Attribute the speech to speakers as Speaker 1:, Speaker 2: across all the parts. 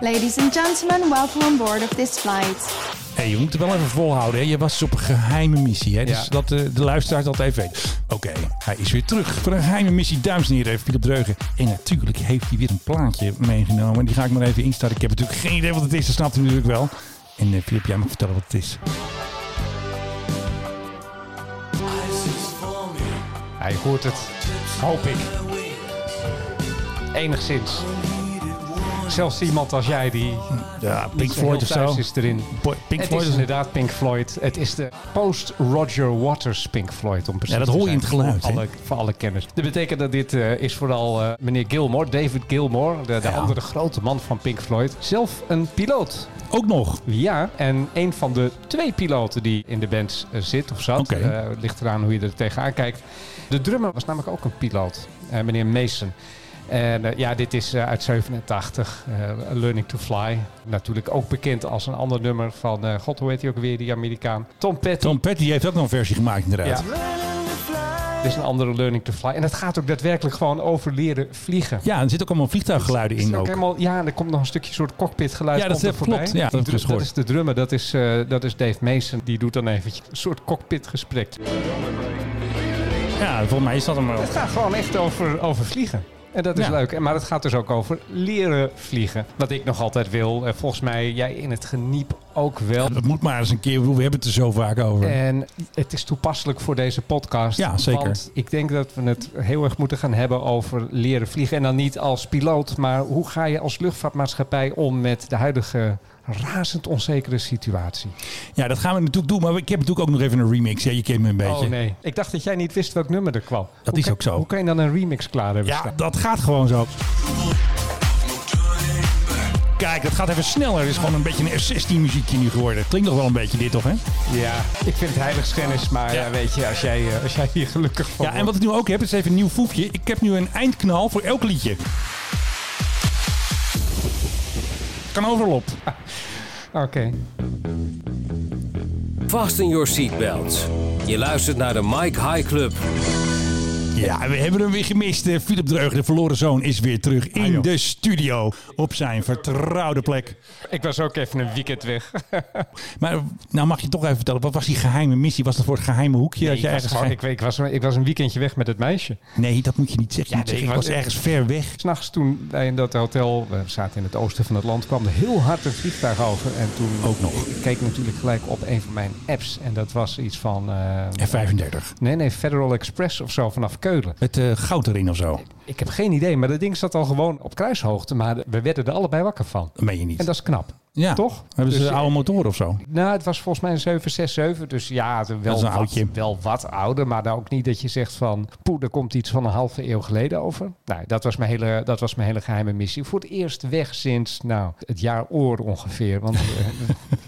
Speaker 1: Ladies and gentlemen, welcome on board of this flight.
Speaker 2: Hey, je moet het wel even volhouden. Hè? Je was op een geheime missie. Hè? Dus
Speaker 3: Ja.
Speaker 2: dat eh, de luisteraar dat even weet. Oké, hij is weer terug. Voor een geheime missie. Duims neer even Philip Dreugen. En natuurlijk heeft hij weer een plaatje meegenomen. Die ga ik maar even instarten. Ik heb natuurlijk geen idee wat het is. Dat snapt u natuurlijk wel. En eh, Philip, jij mag vertellen wat het is.
Speaker 3: Hij hoort het, hoop ik. Enigszins. Zelfs iemand als jij die
Speaker 2: Ja,
Speaker 3: niet
Speaker 2: Pink
Speaker 3: zo
Speaker 2: Floyd
Speaker 3: heel
Speaker 2: of
Speaker 3: thuis
Speaker 2: zo.
Speaker 3: is erin.
Speaker 2: Bo- Pink
Speaker 3: het
Speaker 2: Floyd
Speaker 3: is
Speaker 2: of zo.
Speaker 3: inderdaad Pink Floyd. Het is de post-Roger Waters Pink Floyd. Om precies
Speaker 2: Ja, dat hoor
Speaker 3: te
Speaker 2: je in
Speaker 3: zijn,
Speaker 2: het geluid,
Speaker 3: Voor
Speaker 2: hè?
Speaker 3: alle, voor alle kenners. Dat betekent dat dit eh, is vooral eh, meneer Gilmore, David Gilmore, de, de
Speaker 2: Ja.
Speaker 3: andere grote man van Pink Floyd. Zelf een piloot.
Speaker 2: Ook nog.
Speaker 3: Ja, en een van de twee piloten die in de band eh, zit of zat,
Speaker 2: Oké.
Speaker 3: eh, ligt eraan hoe je er tegenaan kijkt. De drummer was namelijk ook een piloot, eh, meneer Mason. En eh, ja, dit is eh, uit 87, eh, Learning to Fly. Natuurlijk ook bekend als een ander nummer van, eh, god hoe heet hij ook weer, die Amerikaan. Tom Petty.
Speaker 2: Tom Petty heeft ook nog een versie gemaakt inderdaad.
Speaker 3: Ja. Dit is een andere Learning to Fly. En het gaat ook daadwerkelijk gewoon over leren vliegen.
Speaker 2: Ja, er zitten ook allemaal vliegtuiggeluiden
Speaker 3: Het
Speaker 2: in
Speaker 3: is ook
Speaker 2: ook.
Speaker 3: helemaal, ja, en er komt nog een stukje soort cockpitgeluid
Speaker 2: Ja, dat
Speaker 3: komt er
Speaker 2: is-
Speaker 3: voorbij.
Speaker 2: klopt. Ja, dat
Speaker 3: Die
Speaker 2: heb ik
Speaker 3: dru-
Speaker 2: eens gehoord.
Speaker 3: is de drummer, dat is, eh, dat is Dave Mason. Die doet dan eventjes een soort cockpitgesprek.
Speaker 2: Ja, volgens mij is dat hem wel.
Speaker 3: Het gaat gewoon echt over, over vliegen. En dat is
Speaker 2: Ja.
Speaker 3: leuk. En- Maar het gaat dus ook over leren vliegen. Wat ik nog altijd wil. En volgens mij jij in het geniep ook wel.
Speaker 2: Dat moet maar eens een keer. ik bedoel, We hebben het er zo vaak over.
Speaker 3: En het is toepasselijk voor deze podcast.
Speaker 2: Ja, zeker.
Speaker 3: Want ik denk dat we het heel erg moeten gaan hebben over leren vliegen. En dan niet als piloot, maar hoe ga je als luchtvaartmaatschappij om met de huidige razend onzekere situatie?
Speaker 2: Ja, dat gaan we natuurlijk doen. Maar ik heb natuurlijk ook nog even een remix. Ja, je kent me een beetje.
Speaker 3: Oh nee, ik dacht dat jij niet wist welk nummer er kwam.
Speaker 2: Dat
Speaker 3: Hoe
Speaker 2: is
Speaker 3: kan-
Speaker 2: ook zo.
Speaker 3: Hoe kan je dan een remix klaar hebben
Speaker 2: Ja,
Speaker 3: staan?
Speaker 2: dat gaat gewoon zo. Kijk, het gaat even sneller. Het is gewoon een beetje een F-16 muziekje nu geworden. Klinkt nog wel een beetje dit, toch? Hè?
Speaker 3: Ja, ik vind het heiligschennis, maar
Speaker 2: Ja.
Speaker 3: ja, weet je, als jij, eh, als jij hier gelukkig van
Speaker 2: Ja, en wat ik nu ook heb, is even een nieuw foefje. Ik heb nu een eindknal voor elk liedje. Kan overal op.
Speaker 3: wordt- Oké.
Speaker 4: Fasten your seatbelts. Je luistert naar de Mike High Club.
Speaker 2: Ja, we hebben hem weer gemist. Eh, Philip Dreugen, de verloren zoon, is weer terug in
Speaker 3: Ah, joh.
Speaker 2: de studio. Op zijn vertrouwde plek.
Speaker 3: Ik was ook even een weekend weg.
Speaker 2: Maar nou mag je toch even vertellen, wat was die geheime missie? Was dat voor het geheime hoekje? dat
Speaker 3: ik,
Speaker 2: je
Speaker 3: was
Speaker 2: ergens
Speaker 3: gewoon- ik, ik was, ik was een weekendje weg met het meisje.
Speaker 2: Nee, dat moet je niet zeggen. Je
Speaker 3: Ja,
Speaker 2: moet
Speaker 3: nee,
Speaker 2: zeggen, ik
Speaker 3: ik
Speaker 2: was
Speaker 3: was-
Speaker 2: ergens ver weg.
Speaker 3: S'nachts toen wij in dat hotel, eh, we zaten in het oosten van het land, kwam er heel hard een vliegtuig over. En toen
Speaker 2: Ook nog.
Speaker 3: Ik keek natuurlijk gelijk op een van mijn apps. En dat was iets van, eh,
Speaker 2: F35.
Speaker 3: nee nee, Federal Express of zo vanaf Keulen.
Speaker 2: Met eh, goud erin of zo.
Speaker 3: Ik heb geen idee, maar dat ding zat al gewoon op kruishoogte. Maar we werden er allebei wakker van.
Speaker 2: Dat meen je niet.
Speaker 3: En dat is knap.
Speaker 2: ja.
Speaker 3: toch?
Speaker 2: Hebben ze
Speaker 3: Dus,
Speaker 2: een oude motoren of zo?
Speaker 3: Nou, het was volgens mij een 767. Dus ja, het-
Speaker 2: Dat
Speaker 3: wel,
Speaker 2: is een
Speaker 3: wat,
Speaker 2: oudje.
Speaker 3: wel wat ouder. Maar nou ook niet dat je zegt van... Poeh, er komt iets van een halve eeuw geleden over. Nou, dat was mijn hele, dat was mijn hele geheime missie. Voor het eerst weg sinds nou, het jaar oor ongeveer. Want eh,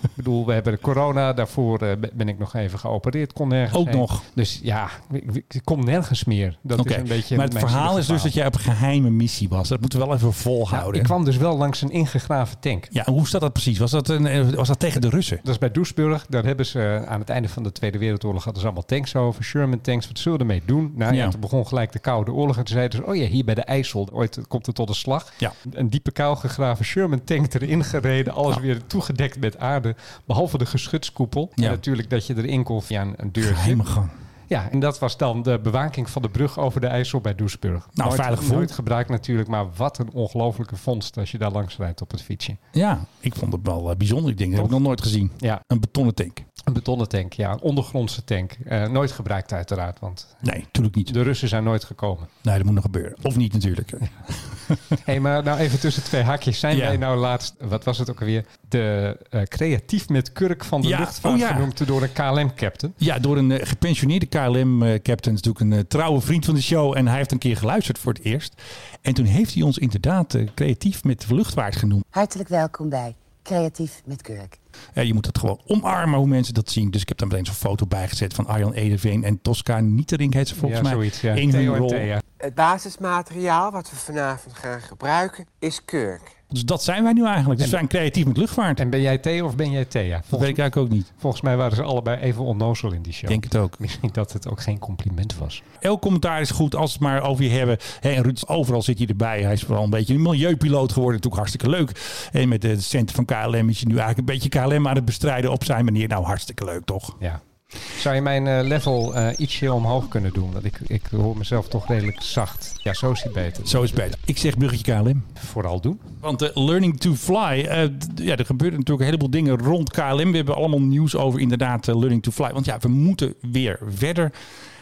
Speaker 3: ik bedoel, we hebben de corona. Daarvoor eh, ben ik nog even geopereerd. Kon nergens
Speaker 2: Ook
Speaker 3: heen.
Speaker 2: nog.
Speaker 3: Dus ja, ik, ik kom nergens meer. Dat
Speaker 2: Oké.
Speaker 3: is een beetje
Speaker 2: Maar het
Speaker 3: mijn
Speaker 2: verhaal
Speaker 3: zielig
Speaker 2: is dus dat jij op een geheime missie was. Dat moeten we wel even
Speaker 3: Nou,
Speaker 2: volhouden.
Speaker 3: ik kwam dus wel langs een ingegraven tank.
Speaker 2: Ja, hoe staat dat precies? Was dat, een, eh, was dat tegen de Russen?
Speaker 3: Dat is bij Doesburg. Daar hebben ze eh, aan het einde van de Tweede Wereldoorlog hadden ze allemaal tanks over. Sherman tanks. Wat zullen we ermee doen? Nou ja,
Speaker 2: Ja.
Speaker 3: toen begon gelijk de Koude Oorlog. En toen zeiden ze, oh ja, hier bij de IJssel. Ooit komt het tot een slag.
Speaker 2: Ja.
Speaker 3: Een diepe kuil gegraven. Sherman tank erin gereden. Alles weer toegedekt met aarde. Behalve de geschutskoepel.
Speaker 2: Ja.
Speaker 3: En natuurlijk dat je erin kon via een, een deurtje.
Speaker 2: Geheime gang.
Speaker 3: Ja, en dat was dan de bewaking van de brug over de IJssel bij Doesburg.
Speaker 2: Nou,
Speaker 3: nooit,
Speaker 2: veilig gevoel.
Speaker 3: Nooit gebruikt natuurlijk, maar wat een ongelofelijke vondst als je daar langs rijdt op het fietsje.
Speaker 2: Ja, ik vond het wel eh, bijzonder. Ik denk, dat heb ik nog nooit gezien.
Speaker 3: Ja,
Speaker 2: Een betonnen tank.
Speaker 3: Een betonnen tank, ja. Een ondergrondse tank. Eh, nooit gebruikt uiteraard, want
Speaker 2: Nee, natuurlijk niet.
Speaker 3: de Russen zijn nooit gekomen.
Speaker 2: Nee, dat moet nog gebeuren. Of niet natuurlijk.
Speaker 3: Hé, hey, maar nou even tussen twee haakjes. Zijn
Speaker 2: Ja.
Speaker 3: wij nou laatst, wat was het ook alweer, de eh, creatief met kurk van de
Speaker 2: Ja,
Speaker 3: luchtvaart
Speaker 2: oh ja.
Speaker 3: genoemd door een KLM-captain?
Speaker 2: Ja, door een eh, gepensioneerde KLM-captain. Natuurlijk een eh, trouwe vriend van de show. En hij heeft een keer geluisterd voor het eerst. En toen heeft hij ons inderdaad eh, creatief met de luchtvaart genoemd.
Speaker 5: Hartelijk welkom bij Creatief met Kurk.
Speaker 2: Eh, je moet dat gewoon omarmen hoe mensen dat zien. Dus ik heb daar meteen zo'n foto bij gezet van Arjan Edeveen en Tosca Nietering heet ze volgens
Speaker 3: ja,
Speaker 2: mij.
Speaker 3: zoiets. Ja.
Speaker 2: In hun
Speaker 3: Theo en
Speaker 2: rol.
Speaker 3: Thea.
Speaker 6: Het basismateriaal wat we vanavond gaan gebruiken is kurk.
Speaker 2: Dus dat zijn wij nu eigenlijk. Dus we zijn creatief met luchtvaart.
Speaker 3: En ben jij Theo of ben jij Thea?
Speaker 2: Dat
Speaker 3: Volgens,
Speaker 2: weet ik eigenlijk ook niet. Ik
Speaker 3: volgens mij waren ze allebei even onnozel in die show.
Speaker 2: denk het ook.
Speaker 3: Misschien dat het ook geen compliment was.
Speaker 2: Elk commentaar is goed als we het maar over je hebben. Hè, en Ruud, overal zit hij erbij. Hij is vooral een beetje een milieupiloot geworden. Natuurlijk hartstikke leuk. En met de centen van KLM is hij nu eigenlijk een beetje KLM aan het bestrijden op zijn manier. Nou, hartstikke leuk toch?
Speaker 3: Ja. Zou je mijn eh, level eh, ietsje omhoog kunnen doen? Want ik, ik hoor mezelf toch redelijk zacht. Ja, zo is het beter.
Speaker 2: Zo is het beter. Ik zeg bruggetje KLM.
Speaker 3: Vooral doen.
Speaker 2: Want eh, learning to fly, eh, d- ja, er gebeuren natuurlijk een heleboel dingen rond KLM. We hebben allemaal nieuws over inderdaad eh, learning to fly. Want ja, we moeten weer verder.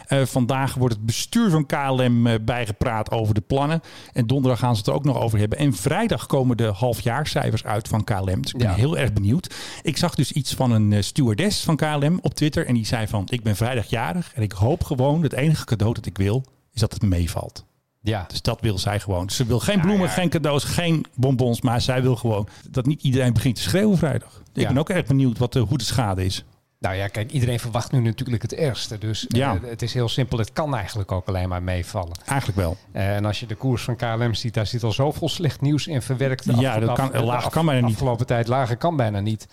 Speaker 2: Eh, vandaag wordt het bestuur van KLM eh, bijgepraat over de plannen. En donderdag gaan ze het er ook nog over hebben. En vrijdag komen de halfjaarcijfers uit van KLM. Dus ik ben
Speaker 3: Ja.
Speaker 2: heel erg benieuwd. Ik zag dus iets van een eh, stewardess van KLM op Twitter. En die zei van, ik ben vrijdag jarig. En ik hoop gewoon, het enige cadeau dat ik wil, is dat het meevalt.
Speaker 3: Ja.
Speaker 2: Dus dat wil zij gewoon. Ze wil geen bloemen, geen cadeaus, geen bonbons. Maar zij wil gewoon dat niet iedereen begint te schreeuwen vrijdag. Ik
Speaker 3: Ja.
Speaker 2: ben ook erg benieuwd wat de, hoe de schade is.
Speaker 3: Nou ja, kijk, iedereen verwacht nu natuurlijk het ergste. Dus eh,
Speaker 2: Ja.
Speaker 3: het is heel simpel. Het kan eigenlijk ook alleen maar meevallen.
Speaker 2: Eigenlijk wel.
Speaker 3: Eh, en als je de koers van KLM ziet, daar zit al zoveel slecht nieuws in verwerkt. De
Speaker 2: Ja, dat kan-
Speaker 3: de
Speaker 2: laag kan bijna niet.
Speaker 3: Afgelopen tijd lager kan bijna niet.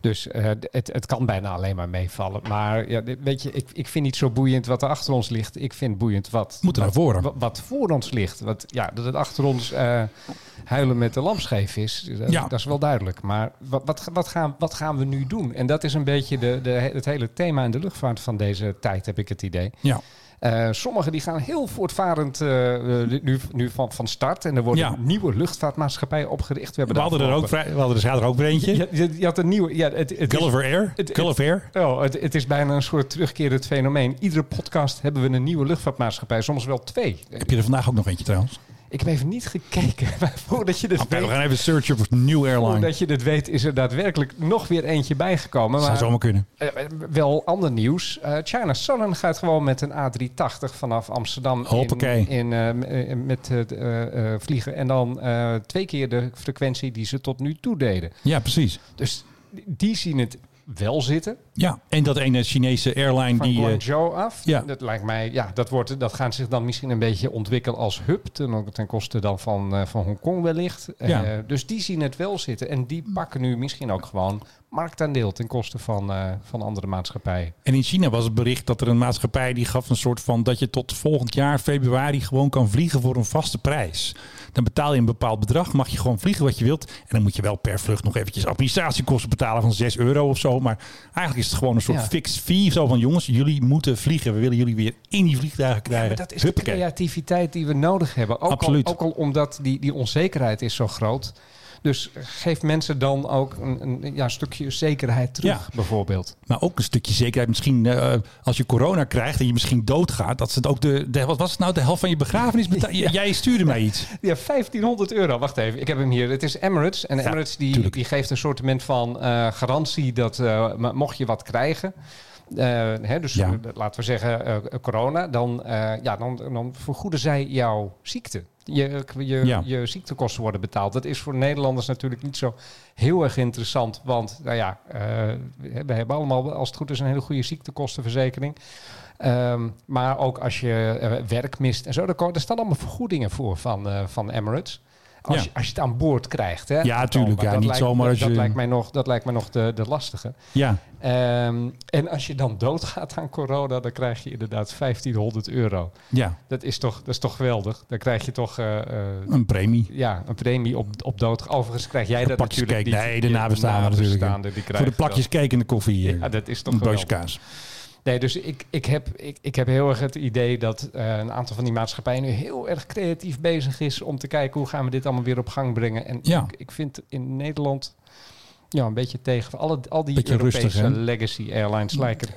Speaker 3: Dus eh, d- het, het kan bijna alleen maar meevallen. Maar ja, dit- weet je, ik, ik vind niet zo boeiend wat er achter ons ligt. Ik vind boeiend wat,
Speaker 2: Moet er naar voren.
Speaker 3: wat, wat voor ons ligt. Wat, ja, dat het achter ons eh, huilen met de lamscheef is, dat,
Speaker 2: Ja.
Speaker 3: dat is wel duidelijk. Maar wat, wat, wat, gaan, wat gaan we nu doen? En dat is een beetje de, de, het hele thema in de luchtvaart van deze tijd, heb ik het idee.
Speaker 2: Ja.
Speaker 3: Eh, sommigen die gaan heel voortvarend eh, eh, nu, nu van, van start. En er worden
Speaker 2: Ja.
Speaker 3: nieuwe luchtvaartmaatschappijen opgericht.
Speaker 2: We
Speaker 3: We, hebben
Speaker 2: hadden er
Speaker 3: daar
Speaker 2: ook,
Speaker 3: afgelopen-
Speaker 2: vrij, we hadden er zaterdag ook weer eentje.
Speaker 3: Je, je- je had een nieuwe... Ja, het, het, is,
Speaker 2: Gulliver Air.
Speaker 3: het- het-
Speaker 2: Gulliver Air.
Speaker 3: oh, het, het is bijna een soort terugkerend fenomeen. Iedere podcast hebben we een nieuwe luchtvaartmaatschappij. Soms wel twee.
Speaker 2: Heb je er vandaag ook nog eentje trouwens?
Speaker 3: Ik heb even niet gekeken. Maar voordat je dit
Speaker 2: Oké, we
Speaker 3: weet...
Speaker 2: gaan even searchen voor New Airline.
Speaker 3: Voordat je dit weet is er daadwerkelijk nog weer eentje bijgekomen.
Speaker 2: zou
Speaker 3: Maar
Speaker 2: zomaar kunnen.
Speaker 3: eh, eh, wel ander nieuws. Eh, China Southern gaat gewoon met een A380 vanaf Amsterdam
Speaker 2: Hoppakee.
Speaker 3: in, in, eh, m- eh, met eh, eh, eh, vliegen. En dan eh, twee keer de frequentie die ze tot nu toe deden.
Speaker 2: Ja, precies.
Speaker 3: Dus die- die zien het wel zitten.
Speaker 2: Ja, en dat ene Chinese airline
Speaker 3: Van
Speaker 2: die... eh,
Speaker 3: Guangzhou af.
Speaker 2: ja.
Speaker 3: Dat lijkt mij, ja, dat, wordt, dat gaan zich dan misschien een beetje ontwikkelen als hub. Ten, ten koste dan van, eh, van Hongkong wellicht. Eh,
Speaker 2: Ja.
Speaker 3: dus die zien het wel zitten. En die pakken nu misschien ook gewoon marktaandeel ten koste van, eh, van andere maatschappijen.
Speaker 2: En in China was het bericht dat er een maatschappij die gaf een soort van dat je tot volgend jaar februari gewoon kan vliegen voor een vaste prijs. Dan betaal je een bepaald bedrag, mag je gewoon vliegen wat je wilt. En dan moet je wel per vlucht nog eventjes administratiekosten betalen van 6 euro of zo. Maar eigenlijk is het gewoon een soort
Speaker 3: Ja.
Speaker 2: fixed fee. Zo van jongens, jullie moeten vliegen. We willen jullie weer in die vliegtuigen krijgen.
Speaker 3: Maar dat is de
Speaker 2: Eh, Huppakee.
Speaker 3: creativiteit die we nodig hebben. Ook
Speaker 2: Absoluut.
Speaker 3: Al, ook al omdat die, die onzekerheid is zo groot. Dus geef mensen dan ook een, een ja, stukje zekerheid terug,
Speaker 2: Ja.
Speaker 3: bijvoorbeeld.
Speaker 2: Maar ook een stukje zekerheid. Misschien eh, als je corona krijgt en je misschien doodgaat. Dat ze het ook de, de- wat was het nou, de helft van je begrafenis betalen. J- Jij stuurde mij iets.
Speaker 3: Ja, 1500 euro. Wacht even, ik heb hem hier. Het is Emirates. En Emirates die,
Speaker 2: tuurlijk.
Speaker 3: die geeft een soort van eh, garantie dat eh, mo- mocht je wat krijgen. eh, hè, dus
Speaker 2: Ja.
Speaker 3: eh, laten we zeggen eh, corona, dan, eh, ja, dan, dan vergoeden zij jouw ziekte. Je, je,
Speaker 2: Ja.
Speaker 3: je ziektekosten worden betaald. Dat is voor Nederlanders natuurlijk niet zo heel erg interessant. Want nou ja, eh, we hebben allemaal, als het goed is, een hele goede ziektekostenverzekering. Ehm, maar ook als je eh, werk mist en zo. daar ko- Daar staan allemaal vergoedingen voor van, eh, van Emirates. Als,
Speaker 2: Ja.
Speaker 3: je, als je het aan boord krijgt. Hè,
Speaker 2: Ja, tuurlijk,
Speaker 3: Maar
Speaker 2: ja,
Speaker 3: dat
Speaker 2: niet
Speaker 3: lijkt,
Speaker 2: zomaar
Speaker 3: dat,
Speaker 2: als
Speaker 3: dat
Speaker 2: je-
Speaker 3: lijkt mij nog, dat lijkt mij nog de, de lastige.
Speaker 2: Ja,
Speaker 3: Ehm, en als je dan doodgaat aan corona, dan krijg je inderdaad 1500 euro.
Speaker 2: ja,
Speaker 3: Dat is toch, dat is toch geweldig? Dan krijg je toch eh, eh,
Speaker 2: een premie.
Speaker 3: ja, een premie op, op dood. Overigens krijg jij dat
Speaker 2: pakjes
Speaker 3: natuurlijk
Speaker 2: cake.
Speaker 3: niet.
Speaker 2: Nee, de
Speaker 3: Je
Speaker 2: nabestaanden natuurlijk.
Speaker 3: nabestaanden, die
Speaker 2: Voor
Speaker 3: krijgen
Speaker 2: de plakjes cake en de koffie.
Speaker 3: dat.
Speaker 2: hier.
Speaker 3: Ja, dat is toch
Speaker 2: een broodje
Speaker 3: geweldig.
Speaker 2: kaas.
Speaker 3: Nee, dus ik, ik, heb, ik, ik heb heel erg het idee dat eh, een aantal van die maatschappijen nu heel erg creatief bezig is om te kijken hoe gaan we dit allemaal weer op gang brengen. En
Speaker 2: Ja.
Speaker 3: ik, ik vind in Nederland ja, een beetje tegen alle, al die
Speaker 2: Beetje
Speaker 3: Europese
Speaker 2: rustig, hè?
Speaker 3: legacy airlines lijken,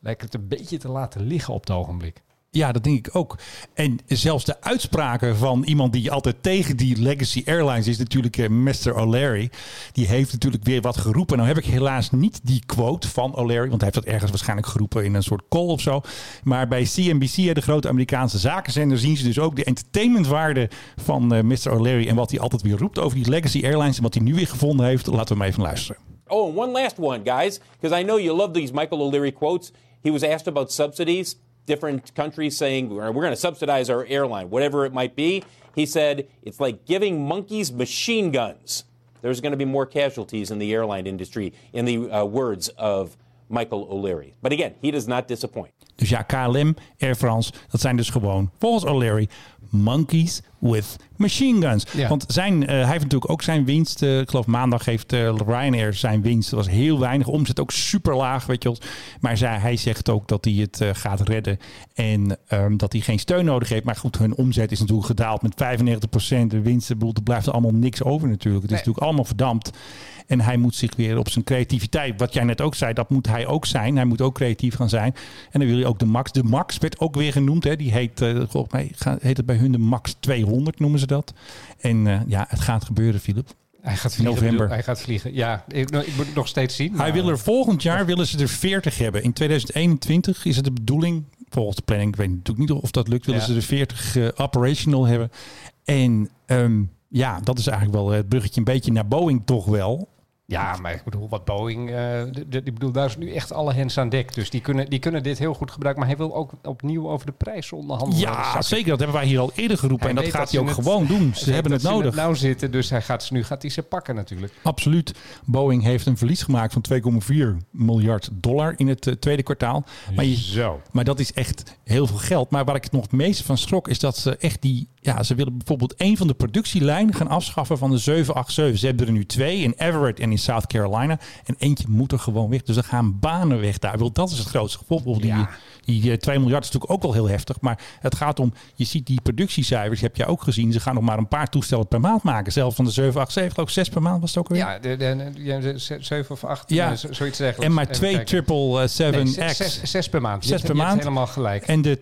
Speaker 3: lijken het een beetje te laten liggen op het ogenblik.
Speaker 2: Ja, dat denk ik ook. En zelfs de uitspraken van iemand die altijd tegen die Legacy Airlines is, natuurlijk eh, Mr. O'Leary. Die heeft natuurlijk weer wat geroepen. Nou heb ik helaas niet die quote van O'Leary, want hij heeft dat ergens waarschijnlijk geroepen in een soort call of zo. Maar bij CNBC, eh, de grote Amerikaanse zakenzender, zien ze dus ook de entertainmentwaarde van eh, Mr. O'Leary. En wat hij altijd weer roept over die Legacy Airlines en wat hij nu weer gevonden heeft. Laten we maar even luisteren.
Speaker 7: Oh, and one last one, guys, because I know you love these Michael O'Leary quotes. He was asked about subsidies. different countries saying we're going to subsidize our airline, whatever it might be. He said it's like giving monkeys machine guns. There's going to be more casualties in the airline industry, in the uh, words of Michael O'Leary. But again, he does not disappoint.
Speaker 2: Dus ja, KLM, Air France, dat zijn dus gewoon, volgens O'Leary, monkeys with machine guns.
Speaker 3: Ja.
Speaker 2: Want zijn, eh, hij heeft natuurlijk ook zijn winst. eh, ik geloof maandag heeft eh, Ryanair zijn winst. Dat was heel weinig. Omzet ook super laag, weet je wel. Maar zij, hij zegt ook dat hij het eh, gaat redden. En ehm, dat hij geen steun nodig heeft. Maar goed, hun omzet is natuurlijk gedaald met 95%. De winsten, ik bedoel, er blijft allemaal niks over natuurlijk. Het is natuurlijk allemaal verdampt. En hij moet zich weer op zijn creativiteit, wat jij net ook zei, dat moet hij ook zijn. Hij moet ook creatief gaan zijn. En dan wil je ook de Max. De Max werd ook weer genoemd. Hè. Die heet, eh, volgens mij ga- heet het bij hun de Max 200, noemen ze dat. En eh, ja, het gaat gebeuren, Philip.
Speaker 3: Hij gaat vliegen.
Speaker 2: November.
Speaker 3: bedoel- Hij gaat vliegen. Ja, ik, nou, ik moet het nog steeds zien.
Speaker 2: Hij
Speaker 3: maar-
Speaker 2: wil er volgend jaar willen ze er 40 hebben. In 2021 is het de bedoeling, volgens de planning, ik weet natuurlijk niet of dat lukt, willen
Speaker 3: Ja.
Speaker 2: ze er 40 eh, operational hebben. En ehm, ja, dat is eigenlijk wel het bruggetje een beetje naar Boeing toch wel.
Speaker 3: Ja, maar ik bedoel, wat Boeing. eh, de- de- ik bedoel, daar is nu echt alle hens aan dek. Dus die kunnen, die kunnen dit heel goed gebruiken. Maar hij wil ook opnieuw over de prijs onderhandelen. Dat
Speaker 2: Ja,
Speaker 3: zag ik.
Speaker 2: zeker. Dat hebben wij hier al eerder geroepen. en
Speaker 3: eh, Hij
Speaker 2: dat
Speaker 3: weet
Speaker 2: gaat
Speaker 3: dat ze
Speaker 2: hij ook
Speaker 3: het-
Speaker 2: gewoon doen. Ze
Speaker 3: weet
Speaker 2: hebben
Speaker 3: dat
Speaker 2: het nodig.
Speaker 3: nou zitten, dus hij gaat ze, nu gaat hij ze pakken natuurlijk.
Speaker 2: Absoluut. Boeing heeft een verlies gemaakt van 2,4 miljard dollar in het eh, tweede kwartaal. Maar, je-
Speaker 3: Zo.
Speaker 2: maar dat is echt heel veel geld. Maar waar ik het nog het meeste van schrok is dat ze echt die... Ja, ze willen bijvoorbeeld een van de productielijnen gaan afschaffen van de 787. Ze hebben er nu twee in Everett en in South Carolina. En eentje moet er gewoon weg. Dus er gaan banen weg daar. Wel, dat is het grootste gevolg. Bijvoorbeeld
Speaker 3: Ja.
Speaker 2: Die, die eh, 2 miljard is natuurlijk ook wel heel heftig. Maar het gaat om... Je ziet die productiecijfers, heb jij ook gezien. Ze gaan nog maar een paar toestellen per maand maken. Zelfs van de 787, geloof ik, zes per maand was het ook alweer.
Speaker 3: Ja, de, de, de- de- ze- zeven of acht,
Speaker 2: Ja.
Speaker 3: eh, z- zoiets zeggen.
Speaker 2: En maar twee
Speaker 3: nee,
Speaker 2: 777X.
Speaker 3: zes, zes, zes per maand. Je
Speaker 2: Zes
Speaker 3: hebt-
Speaker 2: per
Speaker 3: je hebt
Speaker 2: maand.
Speaker 3: helemaal gelijk. En,
Speaker 2: en de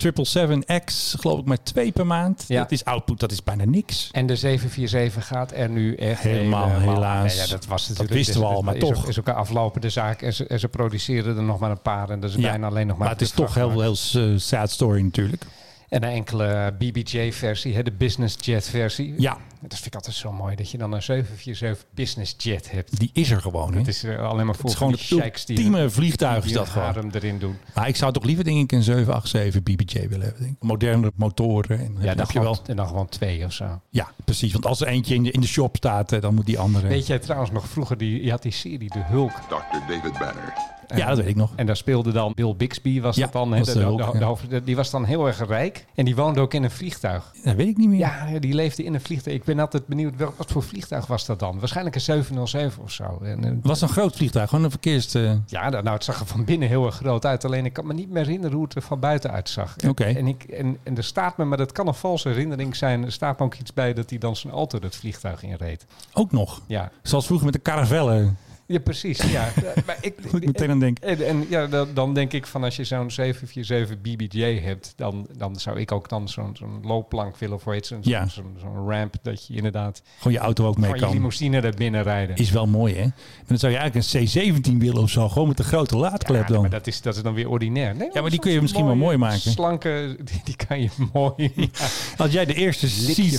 Speaker 2: 777X, geloof ik, maar twee per maand.
Speaker 3: Ja.
Speaker 2: Dat is output, dat is bijna niks.
Speaker 3: de 747 gaat er nu echt
Speaker 2: Helemaal, helaas.
Speaker 3: Nee, ja, dat
Speaker 2: Dat
Speaker 3: was natuurlijk. Dus
Speaker 2: wisten we al, maar
Speaker 3: is,
Speaker 2: toch.
Speaker 3: ook- Is ook een aflopende zaak. En ze, en ze produceren er nog maar een paar. En dat is
Speaker 2: Ja.
Speaker 3: bijna alleen nog maar.
Speaker 2: Maar het is
Speaker 3: voor de
Speaker 2: toch heel, heel eh, sad story natuurlijk.
Speaker 3: En een enkele BBJ-versie, hè, de business jet-versie.
Speaker 2: Ja,
Speaker 3: Dat vind ik altijd zo mooi, dat je dan een 747 business jet hebt.
Speaker 2: die is er gewoon. hè.
Speaker 3: Dat is eh, alleen maar voor
Speaker 2: Het is gewoon
Speaker 3: van die sheiks
Speaker 2: het
Speaker 3: die hun-
Speaker 2: ultieme vliegtuig is
Speaker 3: die hun
Speaker 2: dat gewoon.
Speaker 3: harem erin doen.
Speaker 2: Maar ik zou toch liever denk ik een 787 BBJ willen hebben. denk ik. Modernere motoren. En
Speaker 3: Ja,
Speaker 2: heb
Speaker 3: dan
Speaker 2: je
Speaker 3: gewoon,
Speaker 2: wel.
Speaker 3: en dan gewoon twee of zo.
Speaker 2: Ja, precies. Want als er eentje in de, in de shop staat, eh, dan moet die andere.
Speaker 3: Weet jij trouwens nog vroeger, die, je had die serie De Hulk.
Speaker 8: Dr. David Banner.
Speaker 2: ja, dat weet ik nog.
Speaker 3: En daar speelde dan Bill Bixby, was
Speaker 2: Ja,
Speaker 3: dat dan. hè,
Speaker 2: was
Speaker 3: de,
Speaker 2: De
Speaker 3: de-
Speaker 2: Hulk,
Speaker 3: de-
Speaker 2: ja.
Speaker 3: de hoofd- de- die was dan heel erg rijk. En die woonde ook in een vliegtuig.
Speaker 2: Dat weet ik niet meer.
Speaker 3: Ja, die leefde in een vliegtuig. Ik ben altijd benieuwd, wel- wat voor vliegtuig was dat dan? Waarschijnlijk een 707 of zo. En, eh,
Speaker 2: Het was een groot vliegtuig, gewoon een verkeers... eh,
Speaker 3: Ja, dat- nou, het zag er van binnen heel erg groot uit. Alleen ik kan me niet meer herinneren hoe het er van buiten uitzag. En-
Speaker 2: Oké.
Speaker 3: En, ik, en, en er staat me, maar dat kan een valse herinnering zijn. Er staat me ook iets bij dat hij dan zijn auto het vliegtuig inreed.
Speaker 2: ook nog.
Speaker 3: Ja,
Speaker 2: Zoals vroeger met de caravellen.
Speaker 3: ja precies. Ja. Ja, maar ik,
Speaker 2: Moet ik meteen aan denken.
Speaker 3: en, en ja, dan, dan denk ik van als je zo'n 747 BBJ hebt, dan, dan zou ik ook dan zo'n zo'n loopplank willen voor iets. Zo'n
Speaker 2: Ja.
Speaker 3: zo'n- zo'n ramp dat je inderdaad
Speaker 2: Gewoon je auto ook mee
Speaker 3: van je
Speaker 2: kan.
Speaker 3: limousine naar binnen rijden.
Speaker 2: Is wel mooi, hè? Maar dan zou je eigenlijk een C17 willen of zo. Gewoon met de grote laadklep
Speaker 3: Ja,
Speaker 2: dan.
Speaker 3: maar dat is, dat is dan weer ordinair. Nee,
Speaker 2: Ja, maar die
Speaker 3: zo'n
Speaker 2: kun je misschien wel mooi maken.
Speaker 3: Slanke, die, die kan je mooi
Speaker 2: Als jij de eerste
Speaker 3: likje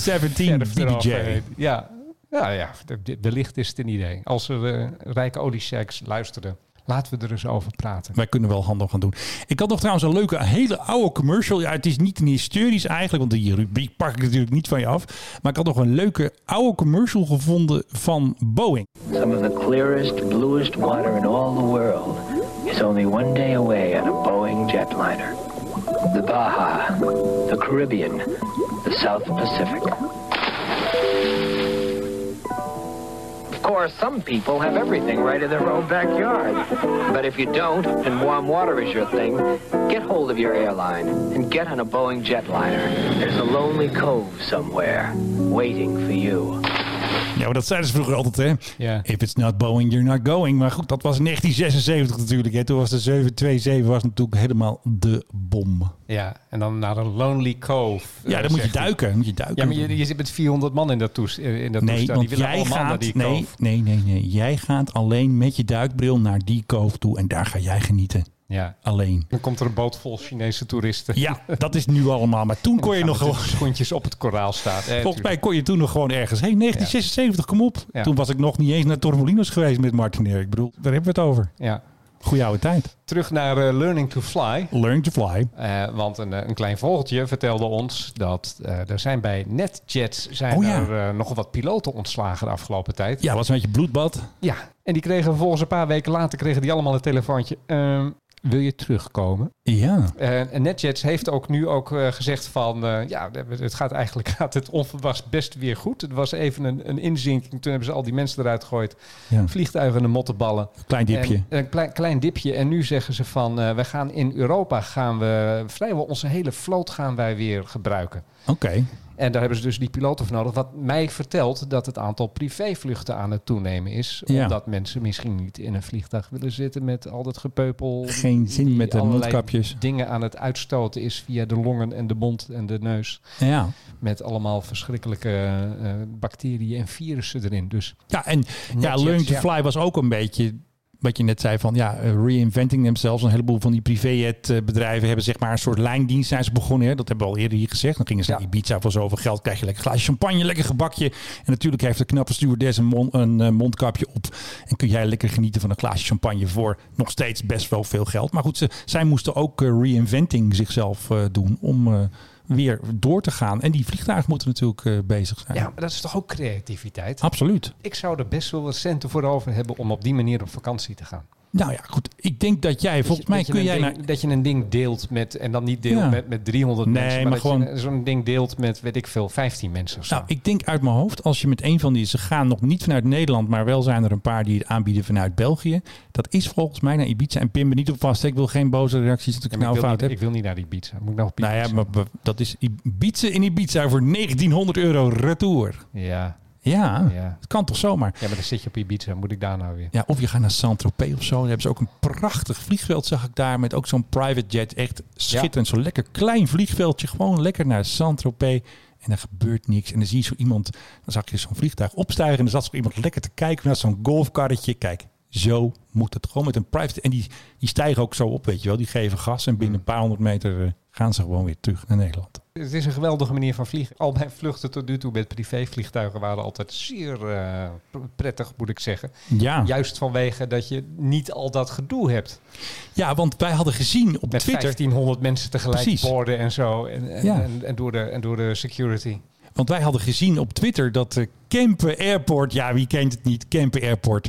Speaker 2: C17
Speaker 3: verf
Speaker 2: BBJ...
Speaker 3: eroverheen. Ja, ja, ja de- wellicht is het een idee. Als er eh, rijke oliesheiks luisteren, laten we er eens over praten.
Speaker 2: Wij kunnen wel handel gaan doen. Ik had nog trouwens een leuke, een hele oude commercial. Ja, het is niet een historisch eigenlijk, want die rubriek pak ik natuurlijk niet van je af. Maar ik had nog een leuke oude commercial gevonden van Boeing.
Speaker 9: Some of the clearest, bluest water in all the world is only one day away on a Boeing jetliner. The Baja, the Caribbean, the South Pacific. Of course, some people have everything right in their own backyard. But if you don't, and warm water is your thing, get hold of your airline and get on a Boeing jetliner. There's a lonely cove somewhere waiting for you.
Speaker 2: Ja, maar dat zeiden ze vroeger altijd, hè?
Speaker 3: Ja.
Speaker 2: If it's not Boeing, you're not going. Maar goed, dat was in 1976 natuurlijk. Hè. Toen was de 727 was natuurlijk helemaal de bom.
Speaker 3: Ja, en dan naar een Lonely Cove.
Speaker 2: Ja,
Speaker 3: eh,
Speaker 2: dan moet je
Speaker 3: zegt hij.
Speaker 2: duiken. Moet je duiken.
Speaker 3: Ja, maar je, je zit met 400 man in dat, toes, eh, in dat
Speaker 2: Nee,
Speaker 3: toestel.
Speaker 2: want
Speaker 3: die willen
Speaker 2: jij
Speaker 3: allemaal naar
Speaker 2: gaat,
Speaker 3: die
Speaker 2: nee,
Speaker 3: cove.
Speaker 2: nee, nee, nee. Jij gaat alleen met je duikbril naar die cove toe en daar ga jij genieten.
Speaker 3: Ja.
Speaker 2: Alleen.
Speaker 3: Dan komt er een boot vol Chinese toeristen.
Speaker 2: Ja, dat is nu allemaal. Maar toen kon je nog
Speaker 3: Met hun
Speaker 2: gewoon.
Speaker 3: schoentjes op het koraal staan. Eh,
Speaker 2: Volgens
Speaker 3: tuurlijk.
Speaker 2: mij kon je toen nog gewoon ergens heen. 1976, kom op.
Speaker 3: Ja.
Speaker 2: Toen was ik nog niet eens naar Torremolinos geweest met Martin Erik. Ik bedoel, daar hebben we het over.
Speaker 3: Ja.
Speaker 2: Goeie oude tijd.
Speaker 3: Terug naar eh, Learning to Fly.
Speaker 2: Learn to fly.
Speaker 3: Eh, want een, eh, een klein vogeltje vertelde ons dat eh, er zijn bij NetJets zijn
Speaker 2: Oh ja.
Speaker 3: er, eh, nogal wat piloten ontslagen de afgelopen tijd.
Speaker 2: Ja, was een beetje bloedbad.
Speaker 3: Ja, en die kregen vervolgens een paar weken later kregen die allemaal een telefoontje. Ehm, wil je terugkomen?
Speaker 2: Ja.
Speaker 3: Eh, en NetJets heeft ook nu ook eh, gezegd van... eh, ja, het gaat eigenlijk gaat het onverwachts best weer goed. Het was even een, een inzinking. Toen hebben ze al die mensen eruit gegooid.
Speaker 2: Ja.
Speaker 3: Vliegtuigen en de mottenballen.
Speaker 2: Klein dipje.
Speaker 3: En een klein, klein dipje. En nu zeggen ze van... eh, we gaan in Europa gaan we... vrijwel onze hele vloot gaan wij weer gebruiken.
Speaker 2: Oké.
Speaker 3: En daar hebben ze dus die piloten voor nodig. Wat mij vertelt dat het aantal privévluchten aan het toenemen is.
Speaker 2: Ja.
Speaker 3: Omdat mensen misschien niet in een vliegtuig willen zitten met al dat gepeupel.
Speaker 2: Geen zin
Speaker 3: die
Speaker 2: met de
Speaker 3: allerlei
Speaker 2: mondkapjes.
Speaker 3: dingen aan het uitstoten is via de longen en de mond en de neus.
Speaker 2: Ja.
Speaker 3: Met allemaal verschrikkelijke eh, bacteriën en virussen erin. Dus
Speaker 2: Ja, en ja,
Speaker 3: Netjes,
Speaker 2: Learn to
Speaker 3: ja.
Speaker 2: Fly was ook een beetje wat je net zei van ja, eh, reinventing themselves. Een heleboel van die privéjet-bedrijven hebben zeg maar een soort lijndienst zijn ze begonnen. Hè? Dat hebben we al eerder hier gezegd. Dan gingen ze
Speaker 3: Ja.
Speaker 2: naar Ibiza voor zoveel geld. Krijg je lekker glaasje champagne, lekker gebakje. En natuurlijk heeft de knappe stewardess een, mon- een eh, mondkapje op. En kun jij lekker genieten van een glaasje champagne voor nog steeds best wel veel geld. Maar goed, ze, zij moesten ook eh, reinventing zichzelf eh, doen om... eh, weer door te gaan. En die vliegtuigen moeten natuurlijk eh, bezig zijn.
Speaker 3: ja, maar dat is toch ook creativiteit?
Speaker 2: Absoluut.
Speaker 3: Ik zou er best wel wat centen voor over hebben om op die manier op vakantie te gaan.
Speaker 2: Nou ja, goed. Ik denk dat jij, volgens mij
Speaker 3: Dus dat je
Speaker 2: kun
Speaker 3: een
Speaker 2: jij naar...
Speaker 3: ding, Dat je een ding deelt met, en dan niet deelt
Speaker 2: Ja.
Speaker 3: met, met 300
Speaker 2: Nee,
Speaker 3: mensen,
Speaker 2: maar
Speaker 3: dat je
Speaker 2: gewoon-
Speaker 3: een- zo'n ding deelt met, weet ik veel, 15 mensen of zo.
Speaker 2: Nou, ik denk uit mijn hoofd, als je met een van die... Ze gaan nog niet vanuit Nederland, maar wel zijn er een paar die het aanbieden vanuit België. Dat is volgens mij naar Ibiza. En pin me niet op vast, hè. ik wil geen boze reacties dat ik
Speaker 3: Ja, maar
Speaker 2: nou
Speaker 3: ik, wil
Speaker 2: fout
Speaker 3: niet,
Speaker 2: heb.
Speaker 3: ik wil niet naar die beat. Moet ik nou op
Speaker 2: Nou ja,
Speaker 3: Ibiza?
Speaker 2: maar we- dat is Ibiza in Ibiza voor 1900 euro retour.
Speaker 3: ja,
Speaker 2: Ja,
Speaker 3: ja.
Speaker 2: het kan toch zomaar.
Speaker 3: Ja, maar dan zit je op Ibiza. Moet ik daar nou weer?
Speaker 2: Ja, of je gaat naar Saint-Tropez of zo. Dan hebben ze ook een prachtig vliegveld, zag ik daar. Met ook zo'n private jet. Echt schitterend. Zo'n lekker klein vliegveldje. Gewoon lekker naar Saint-Tropez. En daar gebeurt niks. En dan zie je zo iemand. Dan zag je zo'n vliegtuig opstijgen. En dan zat zo iemand lekker te kijken naar zo'n golfkarretje. Kijk, zo moet het gewoon met een private. En die, die stijgen ook zo op, weet je wel. Die geven gas. En binnen een paar honderd meter eh, gaan ze gewoon weer terug naar Nederland.
Speaker 3: Het is een geweldige manier van vliegen. Al mijn vluchten tot nu toe met privévliegtuigen waren altijd zeer eh, pr- prettig, moet ik zeggen.
Speaker 2: Ja, ja.
Speaker 3: Juist vanwege dat je niet al dat gedoe hebt.
Speaker 2: want wij hadden gezien op
Speaker 3: Met
Speaker 2: Twitter.
Speaker 3: 1500 mensen tegelijk
Speaker 2: Precies.
Speaker 3: boarden en zo. En, en,
Speaker 2: Ja.
Speaker 3: en, en door de, en door de security.
Speaker 2: Want wij hadden gezien op Twitter dat de Kempen Airport, ja wie kent het niet, Kempen Airport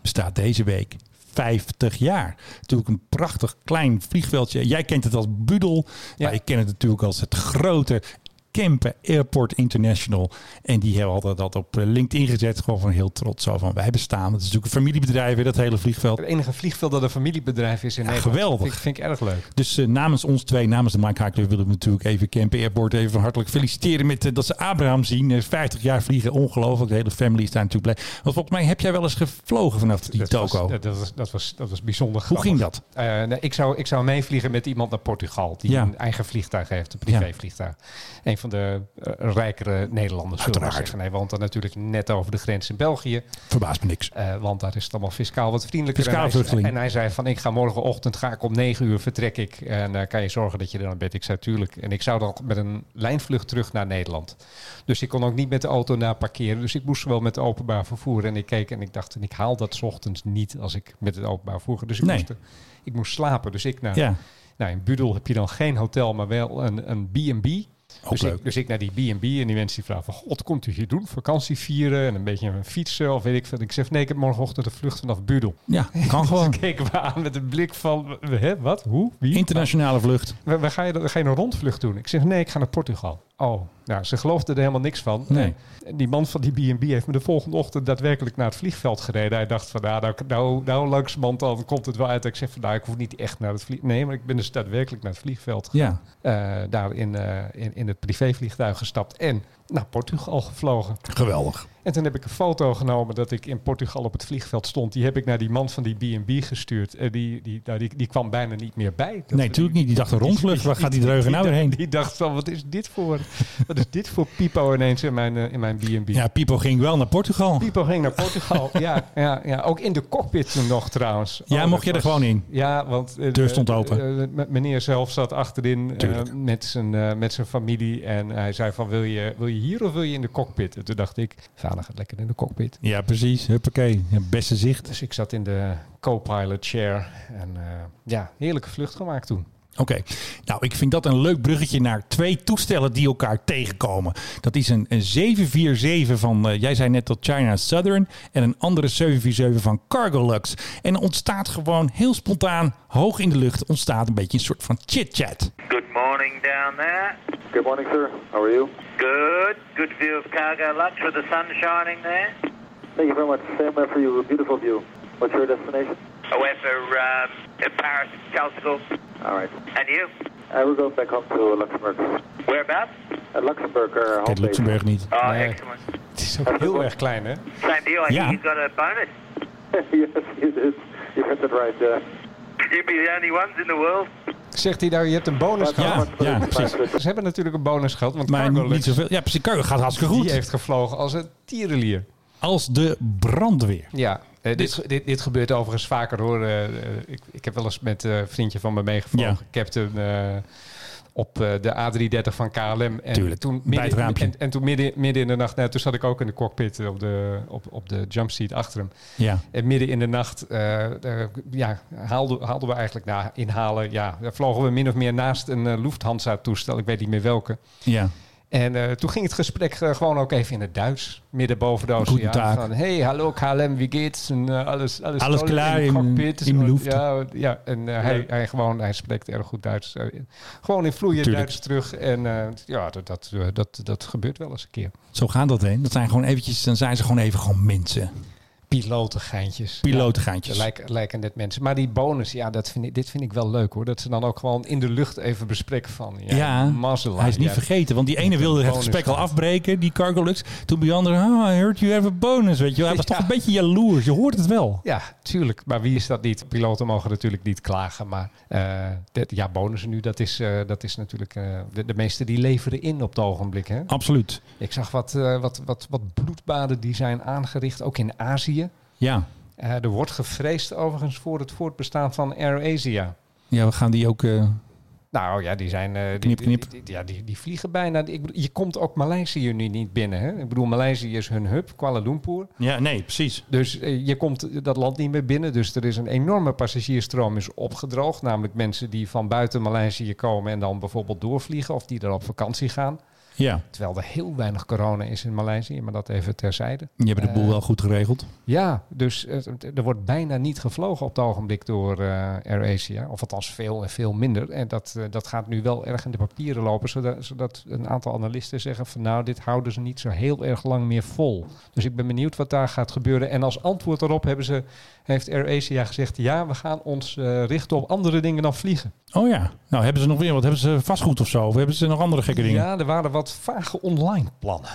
Speaker 2: bestaat deze week 50 jaar. Natuurlijk een prachtig klein vliegveldje. Jij kent het als Budel,
Speaker 3: Ja.
Speaker 2: maar ik ken het natuurlijk als het grote Kempen Airport International. En die hebben altijd dat op eh, LinkedIn gezet, gewoon van heel trots zo van wij bestaan. Het is natuurlijk een familiebedrijf, hè, dat hele vliegveld.
Speaker 3: Het enige vliegveld dat een familiebedrijf is in
Speaker 2: Ja,
Speaker 3: Nederland.
Speaker 2: geweldig.
Speaker 3: Vind, ik- vind ik erg leuk.
Speaker 2: Dus eh, namens ons twee, namens de Mike High Club, willen we natuurlijk even Camp Airport even hartelijk feliciteren met eh, dat ze Abraham zien. Eh, 50 jaar vliegen, ongelooflijk. De hele family is daar natuurlijk blij. Want volgens mij heb jij wel eens gevlogen vanaf die
Speaker 3: dat, was,
Speaker 2: toko.
Speaker 3: dat, dat was, dat, was, dat was
Speaker 2: Hoe
Speaker 3: bijzonder grappig.
Speaker 2: ging dat?
Speaker 3: Eh, nee, ik, zou, ik zou meevliegen met iemand naar Portugal. Die
Speaker 2: Ja.
Speaker 3: een eigen vliegtuig heeft, een privévliegtuig. Een van de eh, rijkere Nederlanders, zullen we maar
Speaker 2: Uiteraard.
Speaker 3: zeggen. Hij woont dan natuurlijk net over de grens in België.
Speaker 2: Verbaast me niks.
Speaker 3: eh, want daar is het allemaal fiscaal wat vriendelijker.
Speaker 2: Fiscaal
Speaker 3: en, hij,
Speaker 2: vluchteling.
Speaker 3: en hij zei van, ik ga morgenochtend ga ik om negen uur vertrek ik. En eh, kan je zorgen dat je er dan bent? Ik zei, tuurlijk. En ik zou dan met een lijnvlucht terug naar Nederland. Dus ik kon ook niet met de auto naar parkeren. Dus ik moest wel met het openbaar vervoer. En ik keek en ik dacht, en ik haal dat 's ochtends niet als ik met het openbaar vervoer. ga. Dus ik,
Speaker 2: Nee.
Speaker 3: moest, er- ik moest slapen. Dus ik naar...
Speaker 2: Ja,
Speaker 3: Nou, in Budel heb je dan geen hotel, maar wel een, een B&B.
Speaker 2: ook
Speaker 3: Dus
Speaker 2: leuk.
Speaker 3: ik, dus ik naar die B&B en die mensen die vragen van... God, wat komt u hier doen? Vakantie vieren en een beetje een fietsen of weet ik veel. Ik zeg, nee, ik heb morgenochtend een vlucht vanaf Budel.
Speaker 2: ja, kan
Speaker 3: Ze
Speaker 2: gewoon.
Speaker 3: keken me aan met een blik van, hè, wat, hoe, wie?
Speaker 2: Internationale vlucht.
Speaker 3: Waar, waar ga je, dan- ga je een rondvlucht doen? Ik zeg, nee, ik ga naar Portugal. Oh, nou, ze geloofden er helemaal niks van.
Speaker 2: Nee.
Speaker 3: En die man van die B&B heeft me de volgende ochtend daadwerkelijk naar het vliegveld gereden. Hij dacht van, nou, nou, nou, nou langzamerhand dan komt het wel uit. Ik zeg van, nou, ik hoef niet echt naar het vliegveld. Nee, maar ik ben dus daadwerkelijk naar het vliegveld
Speaker 2: Ja.
Speaker 3: eh, daar in, eh, in, in het privévliegtuig gestapt en naar Portugal gevlogen.
Speaker 2: Geweldig.
Speaker 3: En toen heb ik een foto genomen dat ik in Portugal op het vliegveld stond. Die heb ik naar die man van die B&B gestuurd. Eh, die, die, nou, die, die kwam bijna niet meer bij. Dat-
Speaker 2: Nee, natuurlijk niet. Die dacht een rondvlucht. Waar gaat die dreugen nou weer
Speaker 3: dacht-
Speaker 2: heen?
Speaker 3: Die dacht van, wat is dit voor, wat is dit voor Pipo ineens in mijn, eh, in mijn B&B?
Speaker 2: Ja, Pipo ging wel naar Portugal.
Speaker 3: Pipo ging naar Portugal. ja, ja, ja, ook in de cockpit toen nog trouwens. Oh,
Speaker 2: Ja,
Speaker 3: dat
Speaker 2: mocht je er gewoon in?
Speaker 3: Ja, want... eh,
Speaker 2: Deur stond
Speaker 3: eh,
Speaker 2: open.
Speaker 3: eh, m- meneer zelf zat achterin eh,
Speaker 2: Tuurlijk.
Speaker 3: met, zijn, eh, met zijn familie. En hij zei van, wil je, wil je hier of wil je in de cockpit? En toen dacht ik, "Nou, dan gaat lekker in de cockpit.
Speaker 2: Ja, precies. Huppakee. Ja, beste zicht.
Speaker 3: Dus ik zat in de co-pilot chair. En eh, ja, heerlijke vlucht gemaakt toen.
Speaker 2: Oké, nou ik vind dat een leuk bruggetje naar twee toestellen die elkaar tegenkomen. Dat is een, een 747 van, eh, jij zei net dat China Southern, en een andere 747 van Cargolux. En er ontstaat gewoon heel spontaan, hoog in de lucht, ontstaat een beetje een soort van chit-chat.
Speaker 8: Good morning down there.
Speaker 10: Good morning, sir. How are you?
Speaker 8: Good. Good view of cargo lunch with the sun shining there.
Speaker 10: Thank you very much. Same uh, for you. Beautiful view. What's your destination?
Speaker 8: I went for um, Paris, Calcutta.
Speaker 10: All right.
Speaker 8: And you?
Speaker 10: I will go back home to Luxembourg.
Speaker 8: Whereabouts?
Speaker 10: Uh, Luxembourg, our home
Speaker 2: Kijk,
Speaker 10: base.
Speaker 2: Luxemburg niet.
Speaker 8: Oh,
Speaker 3: Nee.
Speaker 8: excellent.
Speaker 3: Het is ook heel erg klein, hè?
Speaker 8: Same deal. I
Speaker 2: Yeah.
Speaker 8: think you've got a bonus.
Speaker 10: yes, you did. You hit it right. Uh,
Speaker 8: You'd be the only ones in the world.
Speaker 3: Zegt hij nou, je hebt een bonus
Speaker 10: but
Speaker 2: yeah,
Speaker 3: gehad.
Speaker 10: not much for
Speaker 2: yeah,
Speaker 10: the
Speaker 2: precies.
Speaker 10: price.
Speaker 3: Ze hebben natuurlijk een bonus gehad, want
Speaker 2: Maar
Speaker 3: Cargo
Speaker 2: niet zoveel. Ja, precies. Cargo gaat hartstikke
Speaker 3: die
Speaker 2: goed.
Speaker 3: heeft gevlogen als een tierenlier.
Speaker 2: Als de brandweer.
Speaker 3: Ja, eh, dit, ge- dit, dit gebeurt overigens vaker hoor. Eh, eh, ik, ik heb wel eens met eh, een vriendje van me meegevlogen.
Speaker 2: Ja.
Speaker 3: Captain eh, op eh, de A330 van KLM. En
Speaker 2: Tuurlijk,
Speaker 3: toen
Speaker 2: bij
Speaker 3: midden,
Speaker 2: het raampje.
Speaker 3: En, en toen midden, midden in de nacht, nou, toen zat ik ook in de cockpit op de, op, op de jumpseat achter hem.
Speaker 2: Ja.
Speaker 3: En midden in de nacht eh, eh, ja, haalden, haalden we eigenlijk na inhalen. Ja, daar vlogen we min of meer naast een eh, Lufthansa-toestel. Ik weet niet meer welke.
Speaker 2: ja.
Speaker 3: En eh, toen ging het gesprek eh, gewoon ook even in het Duits, midden boven de
Speaker 2: Guten
Speaker 3: oceaan.
Speaker 2: Tag.
Speaker 3: Van, hey, hallo KLM, wie geht's? En, eh, alles, alles,
Speaker 2: Alles
Speaker 3: toll
Speaker 2: klaar
Speaker 3: in
Speaker 2: in-
Speaker 3: de cockpit.
Speaker 2: in
Speaker 3: Zo,
Speaker 2: Luft.
Speaker 3: Ja, ja, en eh, hij, hij, gewoon, hij spreekt erg goed Duits. Eh, gewoon in vloeiend
Speaker 2: Tuurlijk.
Speaker 3: Duits terug. En eh, ja, dat, dat, eh, dat, dat gebeurt wel eens een keer.
Speaker 2: Zo gaat dat heen. Dat zijn gewoon eventjes, dan zijn ze gewoon even gewoon mensen.
Speaker 3: Pilotengeintjes.
Speaker 2: Pilotengeintjes.
Speaker 3: Ja, lijken, lijken net mensen. Maar die bonus, ja, dat vind ik, dit vind ik wel leuk hoor. Dat ze dan ook gewoon in de lucht even bespreken van... Ja,
Speaker 2: Ja,
Speaker 3: mazzelaar,
Speaker 2: hij is niet
Speaker 3: ja.
Speaker 2: vergeten. Want die ene wilde het
Speaker 3: bonus
Speaker 2: gesprek al
Speaker 3: gehad.
Speaker 2: afbreken, die Cargolux. Toen bij de andere, oh, I heard you have a bonus, weet je wel. Hij was
Speaker 3: Ja.
Speaker 2: toch een beetje jaloers. Je hoort het wel.
Speaker 3: Ja, tuurlijk. Maar wie is dat niet? Piloten mogen natuurlijk niet klagen. Maar eh, dit- ja, bonussen nu, dat is, eh, dat is natuurlijk... eh, de, de meesten die leveren in op het ogenblik. Hè?
Speaker 2: Absoluut.
Speaker 3: Ik zag wat, eh, wat, wat, wat bloedbaden die zijn aangericht, ook in Azië.
Speaker 2: Ja.
Speaker 3: Eh, er wordt gevreesd overigens voor het voortbestaan van AirAsia.
Speaker 2: Ja, we gaan die ook... eh,
Speaker 3: Nou ja, die zijn. eh, die,
Speaker 2: Knip, knip.
Speaker 3: die- die- ja, die, die vliegen bijna. Ik bedoel, je komt ook Maleisië nu niet binnen. Hè? Ik bedoel, Maleisië is hun hub, Kuala Lumpur.
Speaker 2: Ja, nee, precies.
Speaker 3: Dus eh, je komt dat land niet meer binnen. Dus er is een enorme passagiersstroom is opgedroogd. Namelijk mensen die van buiten Maleisië komen en dan bijvoorbeeld doorvliegen of die er op vakantie gaan.
Speaker 2: Ja,
Speaker 3: Terwijl er heel weinig corona is in Maleisië, maar dat even terzijde.
Speaker 2: je hebt de boel
Speaker 3: Eh,
Speaker 2: wel goed geregeld.
Speaker 3: Ja, dus eh, er wordt bijna niet gevlogen op het ogenblik door eh AirAsia. Of althans veel en veel minder. En dat, eh, dat gaat nu wel erg in de papieren lopen. Zodat, zodat een aantal analisten zeggen van nou, dit houden ze niet zo heel erg lang meer vol. Dus ik ben benieuwd wat daar gaat gebeuren. En als antwoord daarop hebben ze, heeft AirAsia gezegd ja, we gaan ons eh, richten op andere dingen dan vliegen.
Speaker 2: Oh ja. Nou, hebben ze nog weer wat? Hebben ze vastgoed of zo? Of hebben ze nog andere gekke dingen?
Speaker 3: Ja, er waren wat vage online plannen.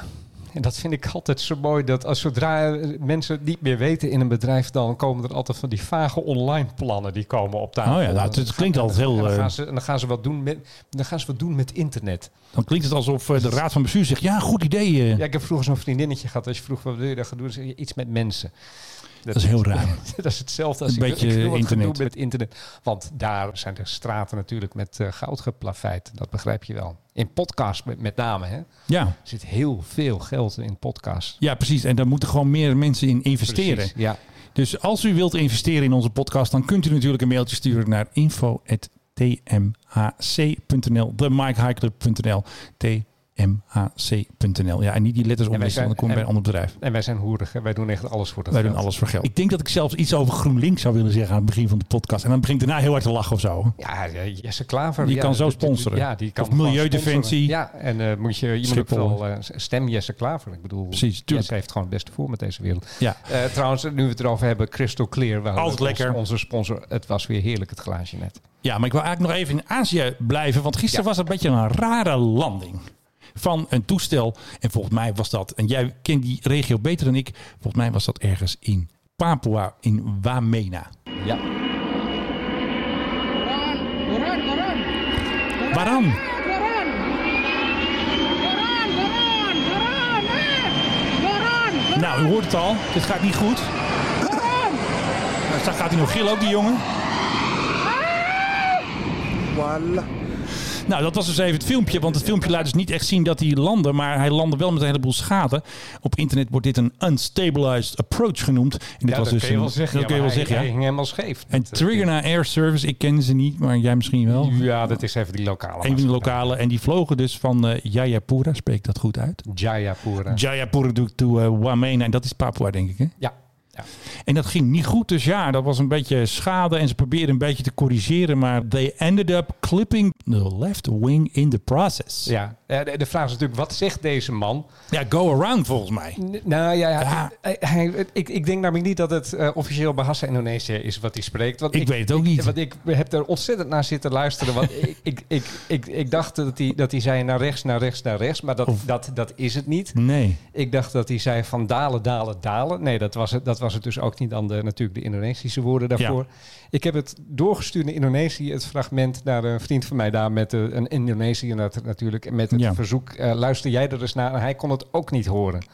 Speaker 3: En dat vind ik altijd zo mooi, dat als zodra eh, mensen het niet meer weten in een bedrijf, dan komen er altijd van die vage online plannen die komen op tafel.
Speaker 2: Oh ja, nou, het- het klinkt altijd heel,
Speaker 3: En dan,
Speaker 2: eh,
Speaker 3: gaan ze, en dan gaan ze wat doen met, dan gaan ze wat doen met internet.
Speaker 2: Dan klinkt het alsof eh, de raad van bestuur zegt, ja, goed idee. eh.
Speaker 3: Ja, ik heb vroeger zo'n vriendinnetje gehad, als je vroeg wat wil je dan gaan doen, zei je iets met mensen.
Speaker 2: dat is heel raar.
Speaker 3: dat is hetzelfde als
Speaker 2: Een
Speaker 3: ik wil-
Speaker 2: beetje
Speaker 3: ik wil wat gaan
Speaker 2: internet.
Speaker 3: doen met internet. Want daar zijn de straten natuurlijk met eh, goud geplaveid. Dat begrijp je wel. In podcasts met, met name, hè?
Speaker 2: Ja.
Speaker 3: Er zit heel veel geld in podcasts.
Speaker 2: ja, precies. En daar moeten gewoon meer mensen in investeren.
Speaker 3: Precies, Ja.
Speaker 2: Dus als u wilt investeren in onze podcast, dan kunt u natuurlijk een mailtje sturen naar info.tmhc.nl, themikehighclub.nl, tmhc.nl. Ja, en niet die letters
Speaker 3: wij
Speaker 2: omwisselen,
Speaker 3: zijn-
Speaker 2: dan kom je bij een
Speaker 3: en-
Speaker 2: ander bedrijf.
Speaker 3: En wij zijn hoerig. Hè? Wij doen echt alles voor dat
Speaker 2: Wij doen
Speaker 3: geld.
Speaker 2: alles voor geld. Ik denk dat ik zelfs iets over GroenLinks zou willen zeggen aan het begin van de podcast. En dan begint daarna heel hard te lachen of zo.
Speaker 3: Ja, ja, Jesse Klaver.
Speaker 2: Die
Speaker 3: ja,
Speaker 2: kan zo
Speaker 3: dat- dat-
Speaker 2: sponsoren.
Speaker 3: Ja, die kan
Speaker 2: Of
Speaker 3: gewoon
Speaker 2: Milieudefensie.
Speaker 3: sponsoren. Ja, en eh, moet je, je moet ook
Speaker 2: Schiphol.
Speaker 3: wel eh, stem Jesse Klaver. Ik bedoel,
Speaker 2: Precies, tuurlijk.
Speaker 3: Jesse heeft gewoon het beste voor met deze wereld.
Speaker 2: Ja.
Speaker 3: Eh, trouwens, nu we het erover hebben, Crystal Clear. waar
Speaker 2: Altijd lekker.
Speaker 3: Onze sponsor. Het was weer heerlijk, het glaasje net.
Speaker 2: Ja, maar ik wil eigenlijk nog even in Azië blijven. Want gisteren
Speaker 3: Ja.
Speaker 2: was het een beetje een rare landing. Van een toestel. En volgens mij was dat. En jij kent die regio beter dan ik. Volgens mij was dat ergens in Papua, in Wamena.
Speaker 3: Ja.
Speaker 2: Waarom? Nou, u hoort het al. Dit gaat niet goed. Nou, straks gaat hij nog gillen ook, die jongen. Nou, dat was dus even het filmpje. Want het filmpje laat dus niet echt zien dat hij landde. Maar hij landde wel met een heleboel schade. Op internet wordt dit een unstabilized approach genoemd. En dit
Speaker 3: Ja,
Speaker 2: was dus
Speaker 3: dat kun je
Speaker 2: een-
Speaker 3: wel zeggen.
Speaker 2: Dat kun je wel
Speaker 3: maar hij-
Speaker 2: zeggen, ja.
Speaker 3: hij ging helemaal scheef.
Speaker 2: En Trigger naar Air Service, ik ken ze niet, maar jij misschien wel.
Speaker 3: Ja, dat is even die lokale.
Speaker 2: Een van de lokale. En die vlogen dus van eh, Jayapura, spreek ik dat goed uit?
Speaker 3: Jayapura.
Speaker 2: Jayapura doe ik toe eh, Wamena. En dat is Papua, denk ik, hè?
Speaker 3: Ja.
Speaker 2: En dat ging niet goed. Dus ja, dat was een beetje schade. En ze probeerden een beetje te corrigeren. Maar they ended up clipping the left wing in the process.
Speaker 3: Ja, eh, de de vraag is natuurlijk, wat zegt deze man?
Speaker 2: Ja, go around volgens mij.
Speaker 3: Nou ja, Hij, hij- ik, ik denk namelijk niet dat het eh, officieel Bahasa Indonesië is wat hij spreekt. Want
Speaker 2: Ik weet het ook niet.
Speaker 3: Want ik heb er ontzettend naar zitten luisteren. Want ik, ik, ik, ik, ik dacht dat hij, dat hij zei naar rechts, naar rechts, naar rechts. Maar dat, dat, dat is het niet.
Speaker 2: Nee.
Speaker 3: Ik dacht dat hij zei van dalen, dalen, dalen. Nee, dat was het, dat was het dus ook niet dan de, natuurlijk de Indonesische woorden daarvoor. Ik heb het doorgestuurd in Indonesië, het fragment naar een vriend van mij daar met eh, een Indonesiër nat- natuurlijk. Met het
Speaker 2: Ja.
Speaker 3: verzoek, eh, luister jij er eens naar. En hij kon het ook niet horen.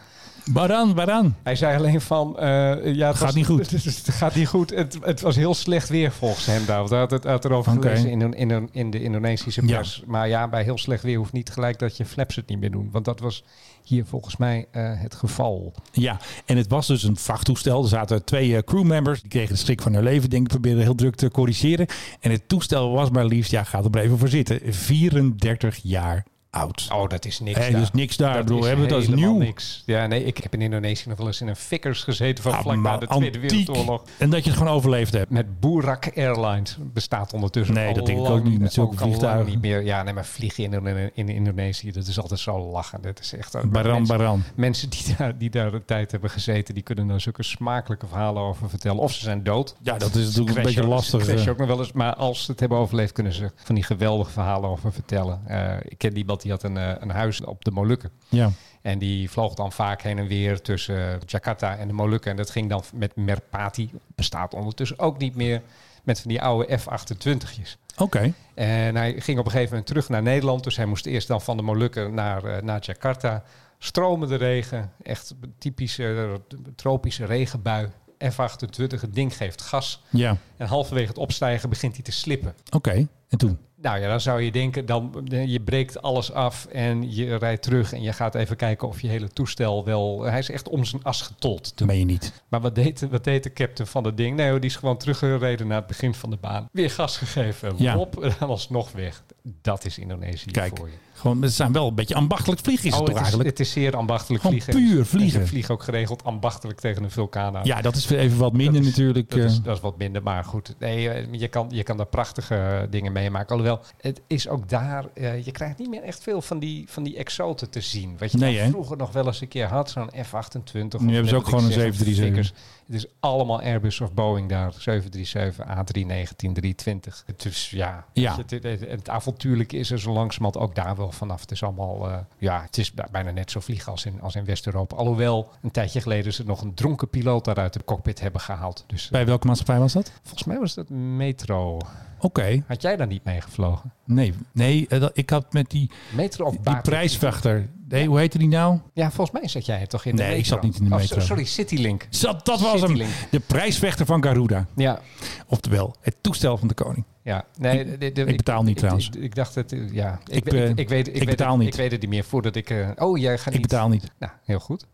Speaker 2: Waaraan, waaraan?
Speaker 3: Hij zei alleen van, eh, ja, het
Speaker 2: Gaat niet goed.
Speaker 3: Het, het gaat niet goed. Het, het was heel slecht weer volgens hem daar. Want hij had het hij had erover
Speaker 2: Oké.
Speaker 3: gelezen in, een- in, een- in de Indonesische
Speaker 2: Ja.
Speaker 3: pers. Maar ja, bij heel slecht weer hoeft niet gelijk dat je flaps het niet meer doen. Want dat was hier volgens mij eh, het geval.
Speaker 2: Ja, en het was dus een vrachttoestel. Er zaten twee eh, crewmembers. Die kregen de schrik van hun leven. Denk ik probeerden heel druk te corrigeren. En het toestel was maar liefst, ja, gaat er maar even voor zitten. 34 jaar oud.
Speaker 3: Oh, dat is niks
Speaker 2: Hey,
Speaker 3: daar.
Speaker 2: dus niks daar. Ik bedoel,
Speaker 3: is
Speaker 2: hebben we het als
Speaker 3: helemaal
Speaker 2: nieuw?
Speaker 3: niks. Ja, nee, ik heb in Indonesië nog wel eens in een fikkers gezeten van
Speaker 2: Ah,
Speaker 3: vlak na
Speaker 2: maar
Speaker 3: de Tweede
Speaker 2: antiek.
Speaker 3: Wereldoorlog.
Speaker 2: En dat je het gewoon overleefd hebt.
Speaker 3: eh, Met Boerak Airlines bestaat ondertussen
Speaker 2: Nee,
Speaker 3: al
Speaker 2: dat denk ik
Speaker 3: lang
Speaker 2: ook niet, met zulke
Speaker 3: ook al lang
Speaker 2: vliegtuigen.
Speaker 3: Niet meer. Ja, nee, maar vliegen in, Indone- in Indonesië, dat is altijd zo lachen. Dat is echt...
Speaker 2: Baran,
Speaker 3: mensen,
Speaker 2: baran.
Speaker 3: mensen die daar, die daar de tijd hebben gezeten, die kunnen daar zulke smakelijke verhalen over vertellen. Of ze zijn dood.
Speaker 2: Ja, dat is natuurlijk een
Speaker 3: Crash
Speaker 2: beetje
Speaker 3: ook-
Speaker 2: lastig,
Speaker 3: crash
Speaker 2: eh.
Speaker 3: ook nog wel eens. Maar als ze het hebben overleefd, kunnen ze van die geweldige verhalen over vertellen. Eh, ik ken iemand die had een, eh, een huis op de Molukken.
Speaker 2: Ja.
Speaker 3: En die vloog dan vaak heen en weer tussen eh, Jakarta en de Molukken. En dat ging dan met Merpati. Bestaat ondertussen ook niet meer. Met van die oude F-28'tjes.
Speaker 2: Oké.
Speaker 3: En hij ging op een gegeven moment terug naar Nederland. Dus hij moest eerst dan van de Molukken naar, eh, naar Jakarta. Stromende regen. Echt typische eh, tropische regenbui. F-28, het ding geeft gas.
Speaker 2: Ja.
Speaker 3: En halverwege het opstijgen begint hij te slippen.
Speaker 2: Oké. En toen?
Speaker 3: Nou ja, dan zou je denken, dan, eh, je breekt alles af en je rijdt terug en je gaat even kijken of je hele toestel wel... eh, Hij is echt om zijn as getold.
Speaker 2: Toen ben je niet.
Speaker 3: Maar wat deed, de- wat deed de captain van dat ding? Nee hoor, die is gewoon teruggereden naar het begin van de baan. Weer gas gegeven,
Speaker 2: Ja.
Speaker 3: Wop, en dan alsnog weg. Dat is Indonesië
Speaker 2: Kijk.
Speaker 3: voor je.
Speaker 2: Gewoon, het zijn wel een beetje ambachtelijk vliegen is
Speaker 3: Oh,
Speaker 2: het toch
Speaker 3: het, is,
Speaker 2: eigenlijk?
Speaker 3: het is zeer ambachtelijk
Speaker 2: Gewoon
Speaker 3: vliegen.
Speaker 2: puur
Speaker 3: En ze
Speaker 2: vliegen.
Speaker 3: vliegen ook geregeld ambachtelijk tegen een vulkaan aan.
Speaker 2: Ja, dat is even wat minder
Speaker 3: Dat is-
Speaker 2: natuurlijk.
Speaker 3: Dat is,
Speaker 2: eh.
Speaker 3: dat is wat minder, maar goed. Nee, eh, je, kan, je kan daar prachtige eh, dingen meemaken. Alhoewel, het is ook daar... eh, je krijgt niet meer echt veel van die, van die exoten te zien. Wat je
Speaker 2: Nee,
Speaker 3: daar
Speaker 2: hè?
Speaker 3: vroeger nog wel eens een keer had, zo'n F-28. Nu
Speaker 2: Nu hebben ze ook gewoon een 737.
Speaker 3: Het is allemaal Airbus of Boeing daar. 737, A319, 320. Dus ja,
Speaker 2: Ja.
Speaker 3: weet je, Het, het, het avontuurlijke is er zo langzamerhand ook daar wel vanaf. Het is allemaal, eh, ja, het is bij- bijna net zo vliegen als in, als in West-Europa. Alhoewel, een tijdje geleden ze nog een dronken piloot daaruit de cockpit hebben gehaald. Dus eh,
Speaker 2: Bij welke maatschappij was dat?
Speaker 3: volgens mij was dat metro.
Speaker 2: Oké.
Speaker 3: Had jij daar niet mee gevlogen?
Speaker 2: Nee, nee eh, dat- ik had met die,
Speaker 3: Metro of
Speaker 2: die
Speaker 3: Baak?
Speaker 2: prijsvechter. Nee, hoe heette die nou?
Speaker 3: Ja, volgens mij zat jij toch in de
Speaker 2: Nee, ik
Speaker 3: metro?
Speaker 2: zat niet in de
Speaker 3: Oh,
Speaker 2: metro.
Speaker 3: so- sorry, Citylink.
Speaker 2: Zat, dat was hem.
Speaker 3: Citylink.
Speaker 2: De prijsvechter van Garuda.
Speaker 3: Ja,
Speaker 2: Oftewel, het toestel van de koning.
Speaker 3: Ja, nee, de- de- de-
Speaker 2: ik betaal niet
Speaker 3: ik-
Speaker 2: trouwens.
Speaker 3: Ik, ik dacht dat, eh, ja, ik,
Speaker 2: Ik,
Speaker 3: ik,
Speaker 2: eh,
Speaker 3: ik, weet,
Speaker 2: ik
Speaker 3: weet
Speaker 2: betaal
Speaker 3: het,
Speaker 2: niet.
Speaker 3: Ik weet het niet meer voordat ik. eh, oh, jij gaat
Speaker 2: Ik
Speaker 3: niet.
Speaker 2: betaal niet.
Speaker 3: Nou, heel goed.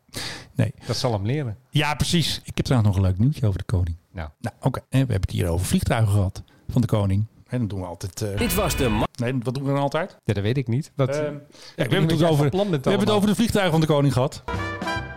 Speaker 2: Nee.
Speaker 3: Dat zal hem leren.
Speaker 2: Ja, precies. Ik heb trouwens nog een leuk nieuwtje over de koning.
Speaker 3: Nou,
Speaker 2: Nou, oké. En we hebben het hier over vliegtuigen gehad van de koning. En dan doen we altijd... eh,
Speaker 4: Dit was de ma-
Speaker 2: nee, wat doen we dan altijd?
Speaker 3: ja, dat weet ik niet. Wat,
Speaker 2: Ehm, ja, we
Speaker 3: niet
Speaker 2: hebben,
Speaker 3: wat
Speaker 2: het
Speaker 3: jij
Speaker 2: over,
Speaker 3: van plan bent
Speaker 2: we hebben het
Speaker 3: allemaal.
Speaker 2: over de vliegtuigen van de koning gehad.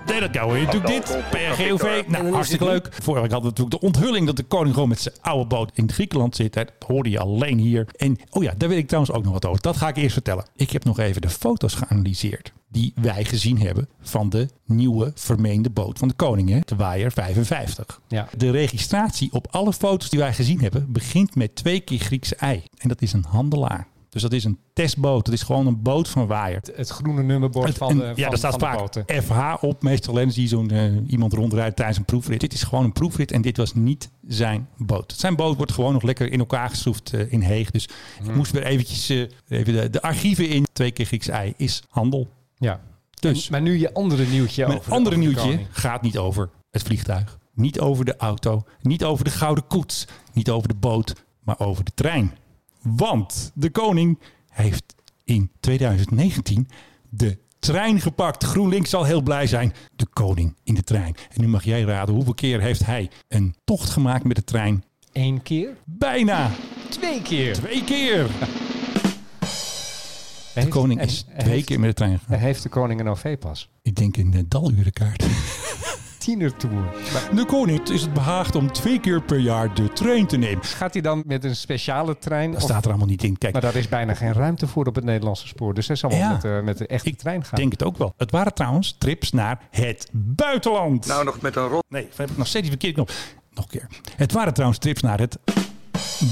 Speaker 2: Nee, dat nou weer. Natuurlijk dit. PRGOV. Nou, hartstikke leuk. Vorige week hadden we natuurlijk de onthulling dat de koning gewoon met zijn oude boot in Griekenland zit. hè. Dat hoorde je alleen hier. En oh ja, daar weet ik trouwens ook nog wat over. Dat ga ik eerst vertellen. Ik heb nog even de foto's geanalyseerd die wij gezien hebben van de nieuwe vermeende boot van de koning, hè? de Waaier 55.
Speaker 3: Ja.
Speaker 2: De registratie op alle foto's die wij gezien hebben begint met twee keer Grieks ei. En dat is een handelaar. Dus dat is een testboot. Dat is gewoon een boot van Waaier.
Speaker 3: het groene nummerbord
Speaker 2: Het-
Speaker 3: van de.
Speaker 2: en- ja,
Speaker 3: van-
Speaker 2: daar staat
Speaker 3: van de
Speaker 2: vaak
Speaker 3: boten.
Speaker 2: FH op. Meestal en zie je zo'n eh, iemand rondrijden tijdens een proefrit. Dit is gewoon een proefrit en dit was niet zijn boot. Zijn boot wordt gewoon nog lekker in elkaar geschroefd eh, in Heeg. Dus
Speaker 3: Hmm.
Speaker 2: ik moest weer eventjes eh, even de, de archieven in. Twee keer Grieks ei is handel.
Speaker 3: Ja.
Speaker 2: Dus
Speaker 3: Maar nu je andere nieuwtje
Speaker 2: mijn
Speaker 3: over. de-
Speaker 2: andere
Speaker 3: over de
Speaker 2: nieuwtje
Speaker 3: koning.
Speaker 2: gaat niet over het vliegtuig. Niet over de auto. Niet over de gouden koets. Niet over de boot. Maar over de trein. Want de koning heeft in 2019 de trein gepakt. GroenLinks zal heel blij zijn. De koning in de trein. En nu mag jij raden hoeveel keer heeft hij een tocht gemaakt met de trein?
Speaker 3: Eén keer?
Speaker 2: Bijna
Speaker 3: Twee keer.
Speaker 2: twee keer. De
Speaker 3: Heeft-
Speaker 2: koning
Speaker 3: en-
Speaker 2: is
Speaker 3: en
Speaker 2: twee
Speaker 3: heeft-
Speaker 2: keer met de trein gegaan.
Speaker 3: En heeft de koning een OV-pas?
Speaker 2: Ik denk een eh, dalurenkaart.
Speaker 3: Tienertour. Maar
Speaker 2: De koning is het behaagd om twee keer per jaar de trein te nemen.
Speaker 3: gaat hij dan met een speciale trein?
Speaker 2: Dat
Speaker 3: of-
Speaker 2: staat er allemaal niet in. Kijk,
Speaker 3: Maar daar is bijna geen ruimte voor op het Nederlandse spoor. Dus hij zal wel
Speaker 2: Ja.
Speaker 3: met, de- met de echte
Speaker 2: ik
Speaker 3: trein gaan.
Speaker 2: denk het ook wel. Het waren trouwens trips naar het buitenland.
Speaker 10: Nou, nog met een rot.
Speaker 2: Nee, we hebben nog steeds die verkeerde knop. Nog een keer. Het waren trouwens trips naar het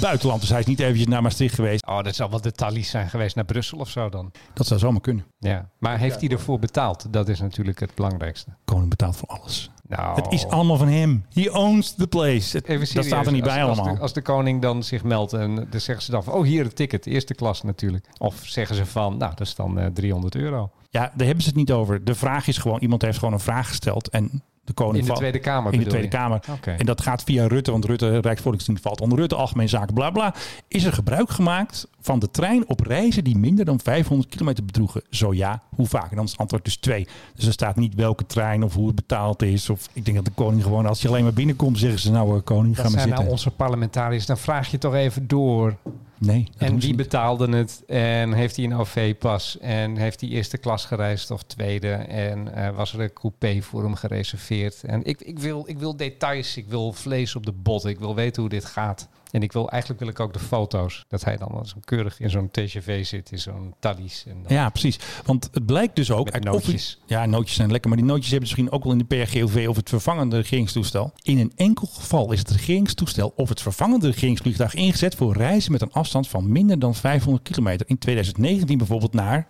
Speaker 2: buitenland. Dus hij is niet eventjes naar Maastricht geweest.
Speaker 3: Oh, dat zal wel de Thalys zijn geweest naar Brussel of zo dan.
Speaker 2: Dat zou zomaar kunnen.
Speaker 3: Ja. Maar heeft hij ervoor betaald? Dat is natuurlijk het belangrijkste.
Speaker 2: Koning betaalt voor alles.
Speaker 3: Nou,
Speaker 2: Het is allemaal van hem. He owns the place. Het-
Speaker 3: Even
Speaker 2: dat
Speaker 3: serieus,
Speaker 2: staat er niet
Speaker 3: als-
Speaker 2: bij
Speaker 3: als
Speaker 2: allemaal.
Speaker 3: De, als de koning dan zich meldt en dan zeggen ze dan van, oh hier het ticket, eerste klas natuurlijk. Of zeggen ze van, nou dat is dan eh, 300 euro.
Speaker 2: Ja, daar hebben ze het niet over. De vraag is gewoon, iemand heeft gewoon een vraag gesteld en de koning
Speaker 3: In de
Speaker 2: valt-
Speaker 3: Tweede Kamer
Speaker 2: In de
Speaker 3: bedoel
Speaker 2: Tweede
Speaker 3: je?
Speaker 2: Kamer.
Speaker 3: Oké.
Speaker 2: En dat gaat via Rutte, want Rutte, Rijksvoorlichtingsdienst valt onder Rutte, algemeen zaken, bla bla. Is er gebruik gemaakt van de trein op reizen die minder dan 500 kilometer bedroegen? Zo ja, hoe vaak? En dan is het antwoord dus twee. Dus er staat niet welke trein of hoe het betaald is. Of ik denk dat de koning gewoon, als je alleen maar binnenkomt, zeggen ze nou, eh, koning, ga maar
Speaker 3: Dat zijn
Speaker 2: zitten.
Speaker 3: nou onze parlementariërs, dan vraag je toch even door.
Speaker 2: nee, dat
Speaker 3: en
Speaker 2: doen ze
Speaker 3: wie
Speaker 2: niet.
Speaker 3: betaalde het? En heeft hij een OV-pas? En heeft hij eerste klas gereisd of tweede? En eh, was er een coupé voor hem gereserveerd? En ik, ik, wil, ik wil details, ik wil vlees op de botten, ik wil weten hoe dit gaat. En ik wil eigenlijk wil ik ook de foto's. Dat hij dan zo keurig in zo'n TGV zit, in zo'n Thalys. En dan
Speaker 2: Ja, precies. Want het blijkt dus ook...
Speaker 3: Met
Speaker 2: uit
Speaker 3: nootjes.
Speaker 2: offis- ja, nootjes zijn lekker. Maar die nootjes hebben ze misschien ook wel in de PRGOV of het vervangende regeringstoestel. In een enkel geval is het regeringstoestel of het vervangende regeringsvliegtuig ingezet voor reizen met een afstand van minder dan 500 kilometer. In 2019 bijvoorbeeld naar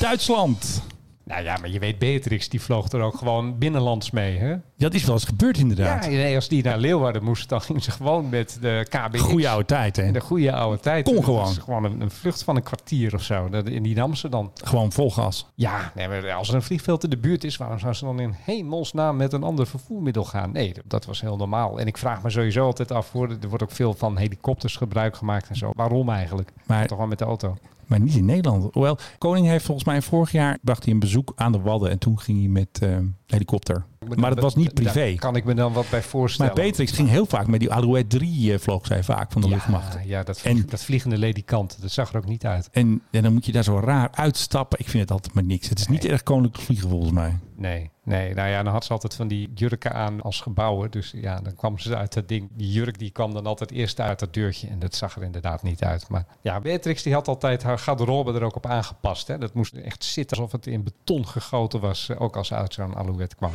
Speaker 2: Duitsland.
Speaker 3: Nou ja, maar je weet Beatrix, die vloog er ook gewoon binnenlands mee, hè?
Speaker 2: Dat is wel eens gebeurd inderdaad.
Speaker 3: Ja, nee, als die naar Leeuwarden moest, dan ging ze gewoon met de KBX.
Speaker 2: Goeie oude tijd, hè?
Speaker 3: In de goede oude tijd.
Speaker 2: Kon
Speaker 3: Dat is
Speaker 2: gewoon.
Speaker 3: gewoon een, een vlucht van een kwartier of zo. Dat- En die nam ze dan.
Speaker 2: Gewoon vol gas.
Speaker 3: Ja, nee, maar als er een vliegveld in de buurt is, waarom zou ze dan in hemelsnaam met een ander vervoermiddel gaan? Nee, dat- dat was heel normaal. En ik vraag me sowieso altijd af, hoor, er wordt ook veel van helikopters gebruik gemaakt en zo. Waarom eigenlijk?
Speaker 2: Maar-
Speaker 3: Toch wel met de auto.
Speaker 2: Maar niet in Nederland. Hoewel, Koning heeft volgens mij vorig jaar... bracht hij een bezoek aan de Wadden en toen ging hij met eh, helikopter. Maar dat was niet privé.
Speaker 3: Daar kan ik me dan wat bij
Speaker 2: Maar
Speaker 3: voorstellen.
Speaker 2: Beatrix ging heel vaak met die Alouette 3 eh, vloog zij vaak van de luchtmacht.
Speaker 3: ja, ja, dat, vlieg-
Speaker 2: En-
Speaker 3: dat vliegende ledikant, dat zag er ook niet uit.
Speaker 2: En, en dan moet je daar zo raar uitstappen. Ik vind het altijd maar niks. Het is niet erg koninklijk vliegen volgens mij.
Speaker 3: Nee, nee. Nou ja, dan had ze altijd van die jurken aan als gebouwen. Dus ja, dan kwam ze uit dat ding. Die jurk die kwam dan altijd eerst uit dat deurtje. En dat zag er inderdaad niet uit. Maar ja, Beatrix die had altijd haar garderobe er ook op aangepast. Hè. Dat moest echt zitten alsof het in beton gegoten was. eh, Ook als ze uit zo'n alouette kwam.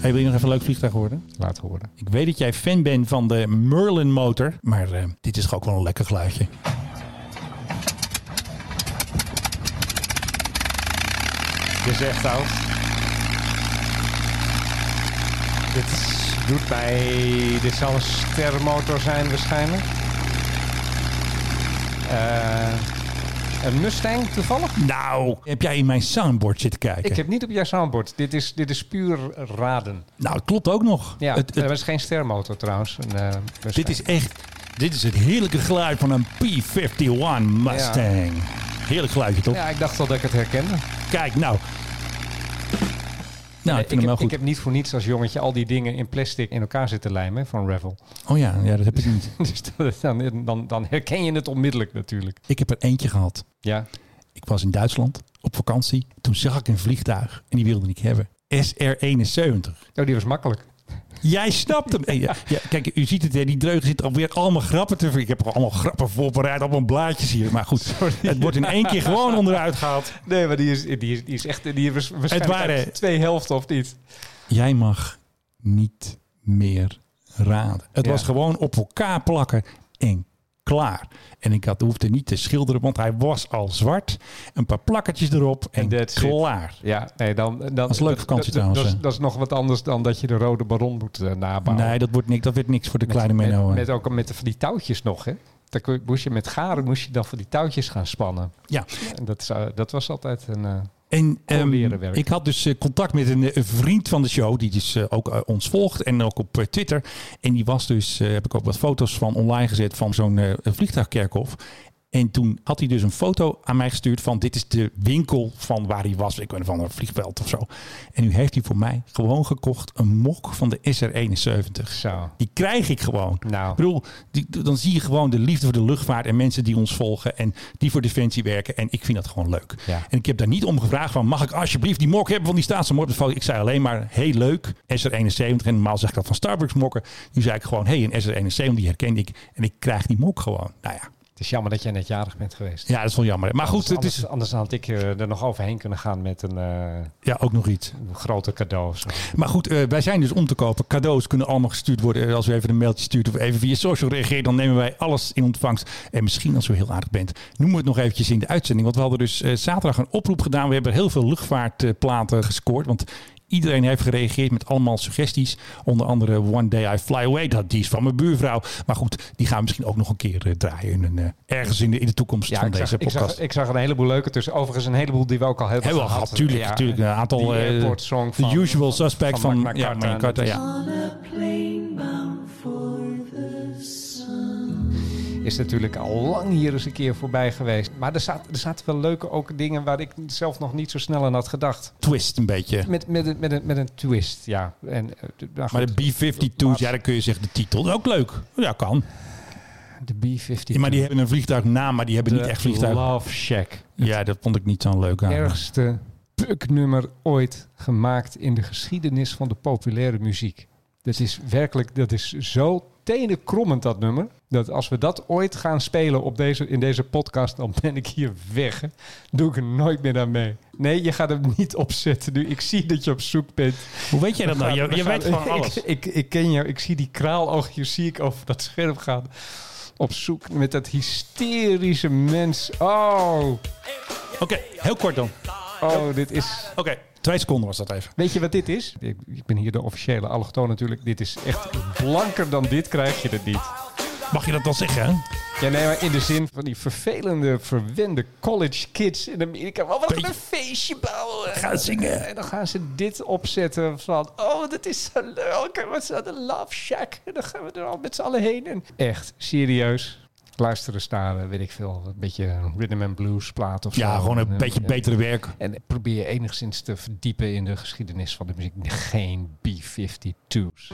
Speaker 2: Hey, wil je nog even een leuk vliegtuig worden?
Speaker 3: Laat horen.
Speaker 2: Ik weet dat jij fan bent van de Merlin motor. Maar eh, dit is toch ook wel een lekker geluidje.
Speaker 3: Je zegt oud. Dit doet mij... Dit zal een stermotor zijn waarschijnlijk. Eh, een Mustang toevallig?
Speaker 2: Nou, heb jij in mijn soundboard zitten kijken?
Speaker 3: Ik heb niet op jouw soundboard. Dit is, dit is puur raden.
Speaker 2: Nou, het klopt ook nog.
Speaker 3: Ja,
Speaker 2: Het- het-
Speaker 3: dat is geen stermotor trouwens. Een, eh, Mustang.
Speaker 2: dit is echt... Dit is het heerlijke geluid van een P-51 Mustang. Heerlijk geluidje, toch?
Speaker 3: Ja, ik dacht al dat ik het herkende.
Speaker 2: Kijk, nou. Nou, ik vind
Speaker 3: heb,
Speaker 2: hem wel goed.
Speaker 3: ik heb niet voor niets als jongetje al die dingen in plastic in elkaar zitten lijmen hè, van Revel.
Speaker 2: Oh ja, ja, dat heb ik niet.
Speaker 3: dus dat- dan, dan, dan herken je het onmiddellijk natuurlijk.
Speaker 2: Ik heb er eentje gehad.
Speaker 3: Ja.
Speaker 2: Ik was in Duitsland op vakantie. Toen zag ik een vliegtuig en die wilde ik hebben. SR-71.
Speaker 3: Oh, die was makkelijk.
Speaker 2: Jij snapt hem. Hey, ja, ja, kijk, u ziet het, hè, die dreugen zitten alweer allemaal grappen te ver- Ik heb er allemaal grappen voorbereid op een blaadjes hier. Maar goed, het wordt in één keer gewoon onderuit gehaald.
Speaker 3: Nee, maar die is, die is, die is echt... Die was waarschijnlijk
Speaker 2: Het waren-
Speaker 3: uit twee helften of niet.
Speaker 2: Jij mag niet meer raden. Het
Speaker 3: Ja.
Speaker 2: was gewoon op elkaar plakken en klaar. En ik had, hoefde niet te schilderen, want hij was al zwart. Een paar plakkertjes erop en
Speaker 3: And that's it.
Speaker 2: klaar.
Speaker 3: Ja, nee, dan... dan
Speaker 2: is een leuke vakantie trouwens,
Speaker 3: Dat,
Speaker 2: hè.
Speaker 3: is- dat is nog wat anders dan dat je de rode baron moet eh, nabouwen.
Speaker 2: Nee, dat nou, wordt niks. Dat werd niks voor de kleine
Speaker 3: met,
Speaker 2: Menno. eh. hè.
Speaker 3: met ook met de- van die touwtjes nog, hè? Dan kon je- moest je met garen moest je dan van die touwtjes gaan spannen.
Speaker 2: ja.
Speaker 3: En dat, is, eh, dat was altijd een. eh,
Speaker 2: En ehm,
Speaker 3: Gewoon leren werken.
Speaker 2: ik had dus eh, contact met een, eh, een vriend van de show, die dus eh, ook eh, ons volgt en ook op eh, Twitter. En die was dus, eh, heb ik ook wat foto's van online gezet van zo'n eh, vliegtuigkerkhof. En toen had hij dus een foto aan mij gestuurd van dit is de winkel van waar hij was. Ik weet niet, van een vliegveld of zo. En nu heeft hij voor mij gewoon gekocht een mok van de SR71.
Speaker 3: Zo.
Speaker 2: Die krijg ik gewoon.
Speaker 3: Nou.
Speaker 2: Ik bedoel, die, dan zie je gewoon de liefde voor de luchtvaart en mensen die ons volgen en die voor Defensie werken. En ik vind dat gewoon leuk.
Speaker 3: Ja.
Speaker 2: En ik heb daar niet om gevraagd van, mag ik alsjeblieft die mok hebben van die staatsmordersfoto? Ik zei alleen maar, heel leuk, SR71. En normaal zeg ik dat van Starbucks mokken. Nu zei ik gewoon, hé, hey, een SR71, die herkende ik. En ik krijg die mok gewoon. Nou ja,
Speaker 3: Het is jammer dat jij net jarig bent geweest. Dus
Speaker 2: ja dat is wel jammer. Maar goed, het
Speaker 3: anders,
Speaker 2: is
Speaker 3: anders had ik eh, er nog overheen kunnen gaan met een eh,
Speaker 2: ja, ook nog iets.
Speaker 3: groter cadeau. of zo.
Speaker 2: Maar goed, eh, wij zijn dus om te kopen. Cadeaus kunnen allemaal gestuurd worden. Eh, Als u even een mailtje stuurt of even via social reageert, dan nemen wij alles in ontvangst. En misschien als u heel aardig bent, noemen we het nog eventjes in de uitzending. Want we hadden dus eh, zaterdag een oproep gedaan. We hebben heel veel luchtvaartplaten eh, gescoord. Want iedereen heeft gereageerd met allemaal suggesties. Onder andere One Day I Fly Away. Dat, die is van mijn buurvrouw. Maar goed, die gaan we misschien ook nog een keer eh, draaien. in een, eh, ergens in de, in de toekomst
Speaker 3: Ja,
Speaker 2: van
Speaker 3: ik zag,
Speaker 2: deze
Speaker 3: ik,
Speaker 2: podcast.
Speaker 3: zag, ik zag een heleboel leuke tussen. Overigens een heleboel die we ook al hebben,
Speaker 2: Hebben we al gehad, tuurlijk,
Speaker 3: Ja,
Speaker 2: natuurlijk. Een aantal.
Speaker 3: die
Speaker 2: eh,
Speaker 3: airport song
Speaker 2: The
Speaker 3: van-
Speaker 2: Usual
Speaker 3: van-
Speaker 2: Suspect
Speaker 3: van
Speaker 2: van,
Speaker 3: Magna
Speaker 2: ja,
Speaker 3: Carta.
Speaker 2: Magna Carta, ja.
Speaker 3: Is natuurlijk al lang hier eens een keer voorbij geweest. Maar er zaten, er zaten wel leuke ook dingen waar ik zelf nog niet zo snel aan had gedacht.
Speaker 2: twist een beetje.
Speaker 3: Met, met, een- met, een, met een twist, ja. En, eh, d- nou
Speaker 2: Maar
Speaker 3: goed,
Speaker 2: de B-52's, ja, dan kun je zeggen de titel. Dat is ook leuk. Ja, kan.
Speaker 3: de B-52.
Speaker 2: Ja, maar die hebben een vliegtuignaam, maar die hebben niet
Speaker 3: De
Speaker 2: echt vliegtuig.
Speaker 3: Love Shack.
Speaker 2: Ja, dat vond ik niet zo'n leuk aan.
Speaker 3: Ergste puknummer ooit gemaakt in de geschiedenis van de populaire muziek. Dat is werkelijk, dat is zo tenenkrommend dat nummer. Dat als we dat ooit gaan spelen op deze, in deze podcast, dan ben ik hier weg. hè. Doe ik er nooit meer aan mee. Nee, je gaat hem niet opzetten nu. Ik zie dat je op zoek bent.
Speaker 2: Hoe weet jij dat nou? Je,
Speaker 3: We
Speaker 2: je
Speaker 3: gaan-
Speaker 2: weet gewoon
Speaker 3: ik-
Speaker 2: alles.
Speaker 3: Ik, ik, ken jou. Ik zie die kraaloogjes zie ik over dat scherm gaan. Op zoek met dat hysterische mens. Oh,
Speaker 2: Oké, heel kort dan.
Speaker 3: oh, dit is...
Speaker 2: Oké, twee seconden was dat even.
Speaker 3: Weet je wat dit is? Ik, ik ben hier de officiële allochtoon natuurlijk. Dit is echt blanker dan dit krijg je het niet.
Speaker 2: Mag je dat dan zeggen, hè?
Speaker 3: Ja, nee, maar in de zin van die vervelende, verwende college kids in Amerika. Wat gaan
Speaker 2: Beetje-
Speaker 3: een feestje bouwen.
Speaker 2: Gaan zingen.
Speaker 3: En dan gaan ze dit opzetten van... Oh, dat is zo leuk. Wat is dat? Een love shack. En dan gaan we er al met z'n allen heen. En echt, serieus. Luisteren, staren, weet ik veel. Een beetje rhythm and blues plaat of zo.
Speaker 2: Ja, gewoon een
Speaker 3: En,
Speaker 2: beetje
Speaker 3: eh,
Speaker 2: betere werk.
Speaker 3: En probeer je enigszins te verdiepen in de geschiedenis van de muziek. Geen B-52's.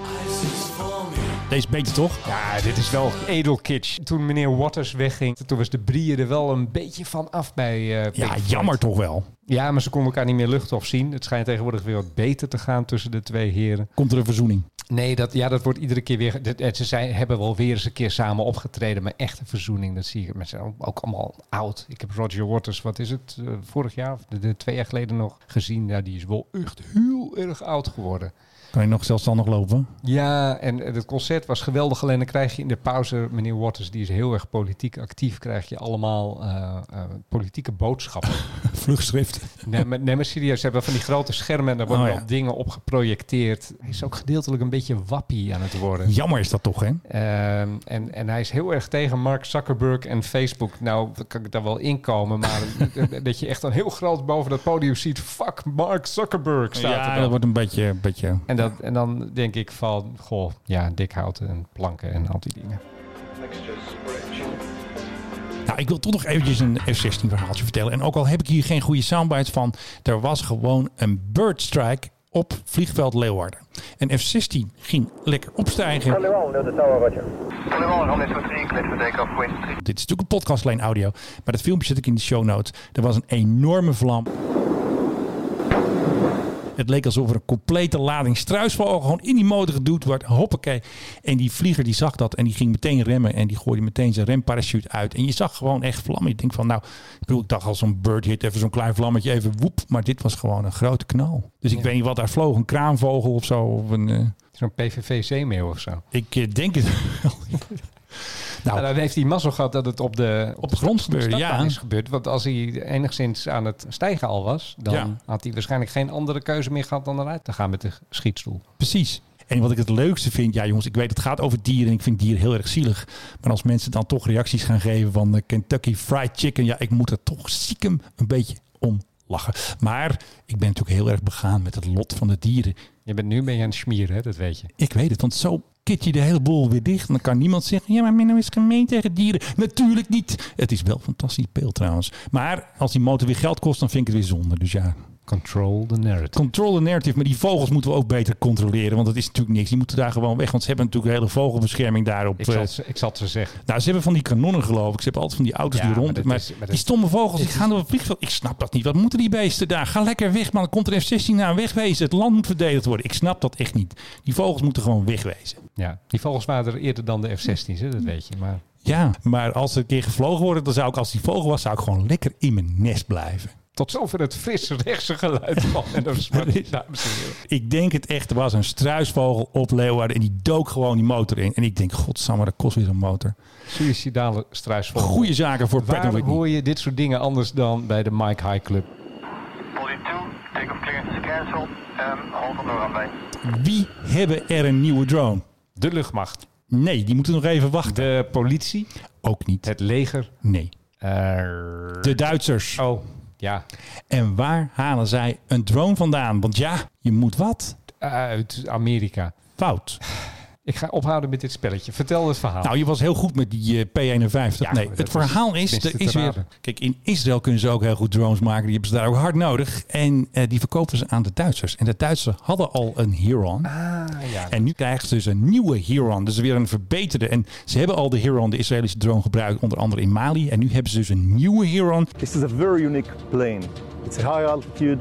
Speaker 2: Deze is beter, toch?
Speaker 3: Ja, dit is wel edel kitsch. Toen meneer Waters wegging, toen was de Brie er wel een beetje van af bij eh, Pink
Speaker 2: Ja,
Speaker 3: Floyd.
Speaker 2: jammer toch wel.
Speaker 3: Ja, maar ze konden elkaar niet meer luchten of zien. Het schijnt tegenwoordig weer wat beter te gaan tussen de twee heren.
Speaker 2: Komt er een verzoening.
Speaker 3: Nee, dat, ja, dat wordt iedere keer weer... dat- eh, ze zijn, hebben wel weer eens een keer samen opgetreden. Maar echte verzoening, dat zie je. Mensen zijn ook allemaal oud. Ik heb Roger Waters, wat is het, eh, vorig jaar of de, de twee jaar geleden nog gezien. Ja, die is wel echt heel erg oud geworden.
Speaker 2: Kan je nog zelfstandig lopen?
Speaker 3: Ja, en eh, het concert was geweldig. Alleen dan krijg je in de pauze, meneer Waters, die is heel erg politiek actief, krijg je allemaal eh, eh, politieke boodschappen.
Speaker 2: Vlugschrift.
Speaker 3: nee, maar, nee, maar serieus, ze hebben van die grote schermen en daar worden
Speaker 2: Oh, ja.
Speaker 3: wel dingen op geprojecteerd. Hij is ook gedeeltelijk een beetje wappie aan het worden.
Speaker 2: Jammer is dat toch, hè?
Speaker 3: Ehm, en, en hij is heel erg tegen Mark Zuckerberg en Facebook. Nou, dan kan ik daar wel inkomen, maar dat je echt dan heel groot boven dat podium ziet. Fuck Mark Zuckerberg staat er
Speaker 2: Ja,
Speaker 3: dan.
Speaker 2: dat wordt een beetje... een beetje...
Speaker 3: En, dat, en dan denk ik van, goh, ja, dik hout en planken en al die dingen.
Speaker 2: Nou, ik wil toch nog eventjes een F-16 verhaaltje vertellen. En ook al heb ik hier geen goede soundbites van, er was gewoon een bird strike op vliegveld Leeuwarden. En F-16 ging lekker opstijgen.
Speaker 8: uh,
Speaker 2: Dit is natuurlijk een podcast, alleen audio. Maar dat filmpje zet ik in de show notes. Er was een enorme vlam. Het leek alsof er een complete lading struisvogel gewoon in die motor geduwd werd. Hoppakee. En die vlieger die zag dat en die ging meteen remmen. En die gooide meteen zijn remparachute uit. En je zag gewoon echt vlammen. Ik denk van nou, ik bedoel, ik dacht al zo'n bird hit, even zo'n klein vlammetje, even woep. Maar dit was gewoon een grote knal. Dus ik weet niet wat daar vloog, een kraanvogel of zo. Of een, eh,
Speaker 3: Zo'n PVV-zeemeeuw of zo.
Speaker 2: ik eh, denk het wel.
Speaker 3: Nou,
Speaker 2: nou,
Speaker 3: dan heeft hij mazzel gehad dat het op de,
Speaker 2: op de grond gebeurde,
Speaker 3: startbaan
Speaker 2: ja.
Speaker 3: is gebeurd. Want als hij enigszins aan het stijgen al was, dan
Speaker 2: Ja.
Speaker 3: had hij waarschijnlijk geen andere keuze meer gehad dan eruit te gaan met de schietstoel.
Speaker 2: Precies. En wat ik het leukste vind, ja jongens, ik weet het gaat over dieren en ik vind dieren heel erg zielig. Maar als mensen dan toch reacties gaan geven van eh, Kentucky Fried Chicken, ja, ik moet er toch stiekem een beetje om lachen. Maar ik ben natuurlijk heel erg begaan met het lot van de dieren.
Speaker 3: Je bent nu ben je aan het schmieren, hè? dat weet je.
Speaker 2: Ik weet het, want zo kit je de hele boel weer dicht. En dan kan niemand zeggen, ja, maar Menno is gemeen tegen dieren. Natuurlijk niet. Het is wel fantastisch beeld trouwens. Maar als die motor weer geld kost, dan vind ik het weer zonde. Dus ja.
Speaker 3: Control the narrative.
Speaker 2: Control the narrative. Maar die vogels moeten we ook beter controleren. Want dat is natuurlijk niks. Die moeten daar gewoon weg. Want ze hebben natuurlijk een hele vogelbescherming daarop.
Speaker 3: Ik zal,
Speaker 2: eh,
Speaker 3: ze- ik zal het ze zeggen.
Speaker 2: nou, ze hebben van die kanonnen geloof ik. Ze hebben altijd van die auto's
Speaker 3: Ja,
Speaker 2: die
Speaker 3: maar
Speaker 2: rond. Maar,
Speaker 3: dat is- maar dat
Speaker 2: die
Speaker 3: is-
Speaker 2: stomme vogels die
Speaker 3: dit
Speaker 2: gaan door het vliegveld. Ik snap dat niet. Wat moeten die beesten daar? Ga lekker weg, man. Dan komt er F-16 naar. Wegwezen. Het land moet verdedigd worden. Ik snap dat echt niet. Die vogels moeten gewoon wegwezen.
Speaker 3: Ja, die vogels waren er eerder dan de F-16's, hè, dat weet je. Maar
Speaker 2: Ja, maar als er een keer gevlogen wordt, dan zou ik als die vogel was, zou ik gewoon lekker in mijn nest blijven.
Speaker 3: tot zover het frisse rechtse geluid van en dat is maar dames en heren.
Speaker 2: Ik denk het echt, er was een struisvogel op Leeuwarden en die dook gewoon die motor in. En ik denk, godsamme, dat kost weer zo'n motor.
Speaker 3: Suïcidale struisvogel.
Speaker 2: Goeie zaken voor Pat
Speaker 3: Waarom
Speaker 2: Whitney.
Speaker 3: hoor je dit soort dingen anders dan bij de Mike High Club?
Speaker 8: 42, takeoff clearance is cancelled. Um, hold on the runway.
Speaker 2: Wie hebben er een nieuwe drone?
Speaker 3: De luchtmacht,
Speaker 2: Nee, die moeten nog even wachten.
Speaker 3: de politie,
Speaker 2: Ook niet.
Speaker 3: het leger.
Speaker 2: Nee.
Speaker 3: eh,
Speaker 2: De Duitsers.
Speaker 3: oh, ja.
Speaker 2: En waar halen zij een drone vandaan? Want ja, je moet wat.
Speaker 3: Eh, Uit Amerika.
Speaker 2: Fout.
Speaker 3: Ik ga ophouden met dit spelletje. Vertel het verhaal.
Speaker 2: Nou, je was heel goed met die eh, P51. nee,
Speaker 3: Ja, maar
Speaker 2: het
Speaker 3: dat
Speaker 2: verhaal
Speaker 3: is
Speaker 2: is,
Speaker 3: tenminste
Speaker 2: er
Speaker 3: te
Speaker 2: is weer...
Speaker 3: raden.
Speaker 2: Kijk, in Israël kunnen ze ook heel goed drones maken. Die hebben ze daar ook hard nodig. En eh, die verkopen ze aan de Duitsers. En de Duitsers hadden al een Heron.
Speaker 3: Ah,
Speaker 2: En nu krijgen ze dus een nieuwe Heron. Dus weer een verbeterde. En ze hebben al de Heron, de Israëlische drone, gebruikt. Onder andere in Mali. En nu hebben ze dus een nieuwe Heron.
Speaker 11: This is a very unique plane. It's a high altitude,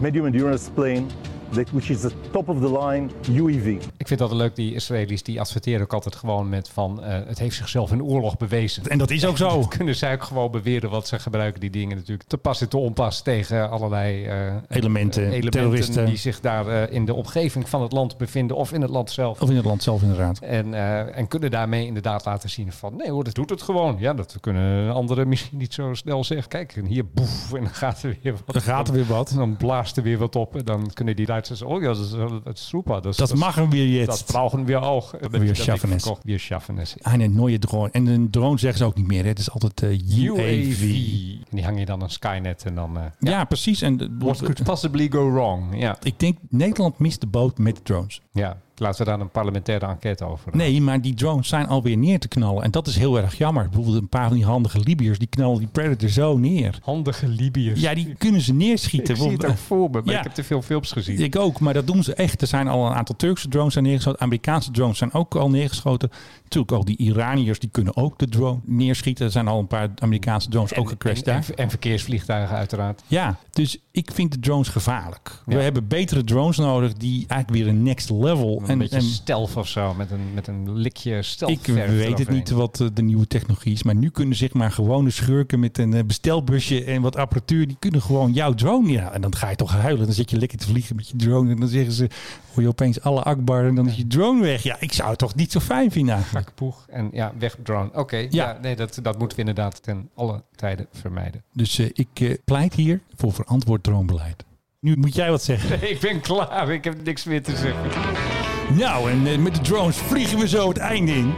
Speaker 11: medium endurance plane, that, which is the top of the line E UEV.
Speaker 3: ik vind dat leuk, die Israëli's die adverteren ook altijd gewoon met van... eh, het heeft zichzelf in oorlog bewezen.
Speaker 2: En dat is ook zo.
Speaker 3: kunnen zij ook gewoon beweren, want ze gebruiken die dingen natuurlijk te pas en te onpas tegen allerlei eh,
Speaker 2: Elementen,
Speaker 3: eh,
Speaker 2: terroristen.
Speaker 3: die zich daar eh, in de omgeving van het land bevinden of in het land zelf.
Speaker 2: Of in het land zelf inderdaad.
Speaker 3: En, eh, en kunnen daarmee inderdaad laten zien van nee hoor, dat doet het gewoon. Ja, dat kunnen anderen misschien niet zo snel zeggen. Kijk, en hier boef, en dan gaat er weer wat.
Speaker 2: Dan gaat er weer wat.
Speaker 3: En dan blaast er weer wat op. En dan kunnen die Duitsers, oh ja, dat is, eh, dat is super. Dat,
Speaker 2: Dat mag hem weer
Speaker 3: Dat
Speaker 2: jetzt.
Speaker 3: brauchen wir auch. Dat heb ik
Speaker 2: schaffenis.
Speaker 3: verkocht. Wir schaffen es.
Speaker 2: Een nieuwe drone. En een drone zeggen ze ook niet meer. hè. Het is altijd eh,
Speaker 3: UAV.
Speaker 2: UAV.
Speaker 3: En die hang je dan aan Skynet en dan... eh,
Speaker 2: Ja, precies. En de-
Speaker 3: What could possibly go wrong? Ja.
Speaker 2: ik denk Nederland mist de boot met de drones.
Speaker 3: ja, laten we daar een parlementaire enquête over. doen.
Speaker 2: Nee, maar die drones zijn alweer neer te knallen. En dat is heel erg jammer. Bijvoorbeeld een paar van die handige Libiërs, die knallen die Predator zo neer.
Speaker 3: Handige Libiërs.
Speaker 2: Ja, die kunnen ze neerschieten.
Speaker 3: ik zie het ook
Speaker 2: Bijvoorbeeld-
Speaker 3: voor me, maar
Speaker 2: Ja.
Speaker 3: ik heb te veel films gezien.
Speaker 2: Ik ook, maar dat doen ze echt. Er zijn al een aantal Turkse drones zijn neergeschoten. Amerikaanse drones zijn ook al neergeschoten. Natuurlijk ook die Iraniërs, die kunnen ook de drone neerschieten. Er zijn al een paar Amerikaanse drones ook gecrashed
Speaker 3: en,
Speaker 2: daar.
Speaker 3: en- en verkeersvliegtuigen uiteraard.
Speaker 2: Ja, dus ik vind de drones gevaarlijk.
Speaker 3: Ja.
Speaker 2: We hebben betere drones nodig die eigenlijk weer een next level...
Speaker 3: Een
Speaker 2: en,
Speaker 3: beetje
Speaker 2: en-
Speaker 3: stelf of zo, met een, met een likje stelf.
Speaker 2: Ik weet het niet wat eh, de nieuwe technologie is. Maar nu kunnen zeg maar gewone schurken met een eh, bestelbusje en wat apparatuur. Die kunnen gewoon jouw drone neerhalen. En dan ga je toch huilen. Dan zit je lekker te vliegen met je drone. En dan zeggen ze, hoor je opeens alle akbar en dan is je drone weg. Ja, ik zou het toch niet zo fijn vinden eigenlijk.
Speaker 3: Poeg. En ja, weg drone. Oké, ja.
Speaker 2: Ja.
Speaker 3: nee, dat, dat moeten we inderdaad ten alle tijden vermijden.
Speaker 2: Dus eh, ik eh, pleit hier voor verantwoord dronebeleid. Nu moet jij wat zeggen.
Speaker 3: ik ben klaar, ik heb niks meer te zeggen.
Speaker 2: Nou, en eh, met de drones vliegen we zo het einde in.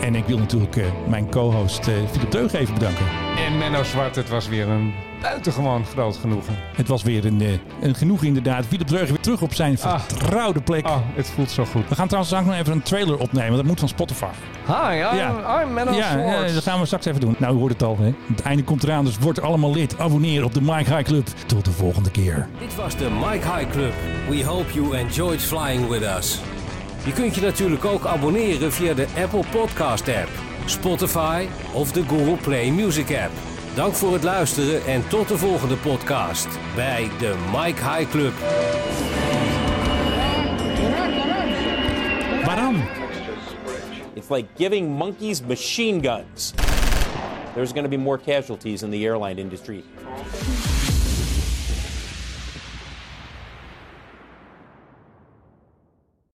Speaker 2: En ik wil natuurlijk eh, mijn co-host eh, Philip Deug even bedanken.
Speaker 3: En Menno Zwart, het was weer een buitengewoon groot genoegen.
Speaker 2: Het was weer een, eh, een genoeg inderdaad. Philip Deug weer terug op zijn
Speaker 3: Ah.
Speaker 2: vertrouwde plek.
Speaker 3: Oh, het voelt zo goed.
Speaker 2: We gaan trouwens straks nog even een trailer opnemen. Dat moet van Spotify.
Speaker 3: Hi, I'm,
Speaker 2: Ja.
Speaker 3: I'm Menno
Speaker 2: ja,
Speaker 3: Zwart.
Speaker 2: ja, dat gaan we straks even doen. Nou, u hoort het al. Hè? Het einde komt eraan, dus word allemaal lid. Abonneer op de Mike High Club. Tot de volgende keer.
Speaker 4: Dit was de Mike High Club. We hope you enjoyed flying with us. Je kunt je natuurlijk ook abonneren via de Apple Podcast app, Spotify of de Google Play Music app. Dank voor het luisteren en tot de volgende podcast bij de Mike High Club.
Speaker 2: Waarom?
Speaker 7: It's like giving monkeys machine guns. There's going to be more casualties in the airline industry.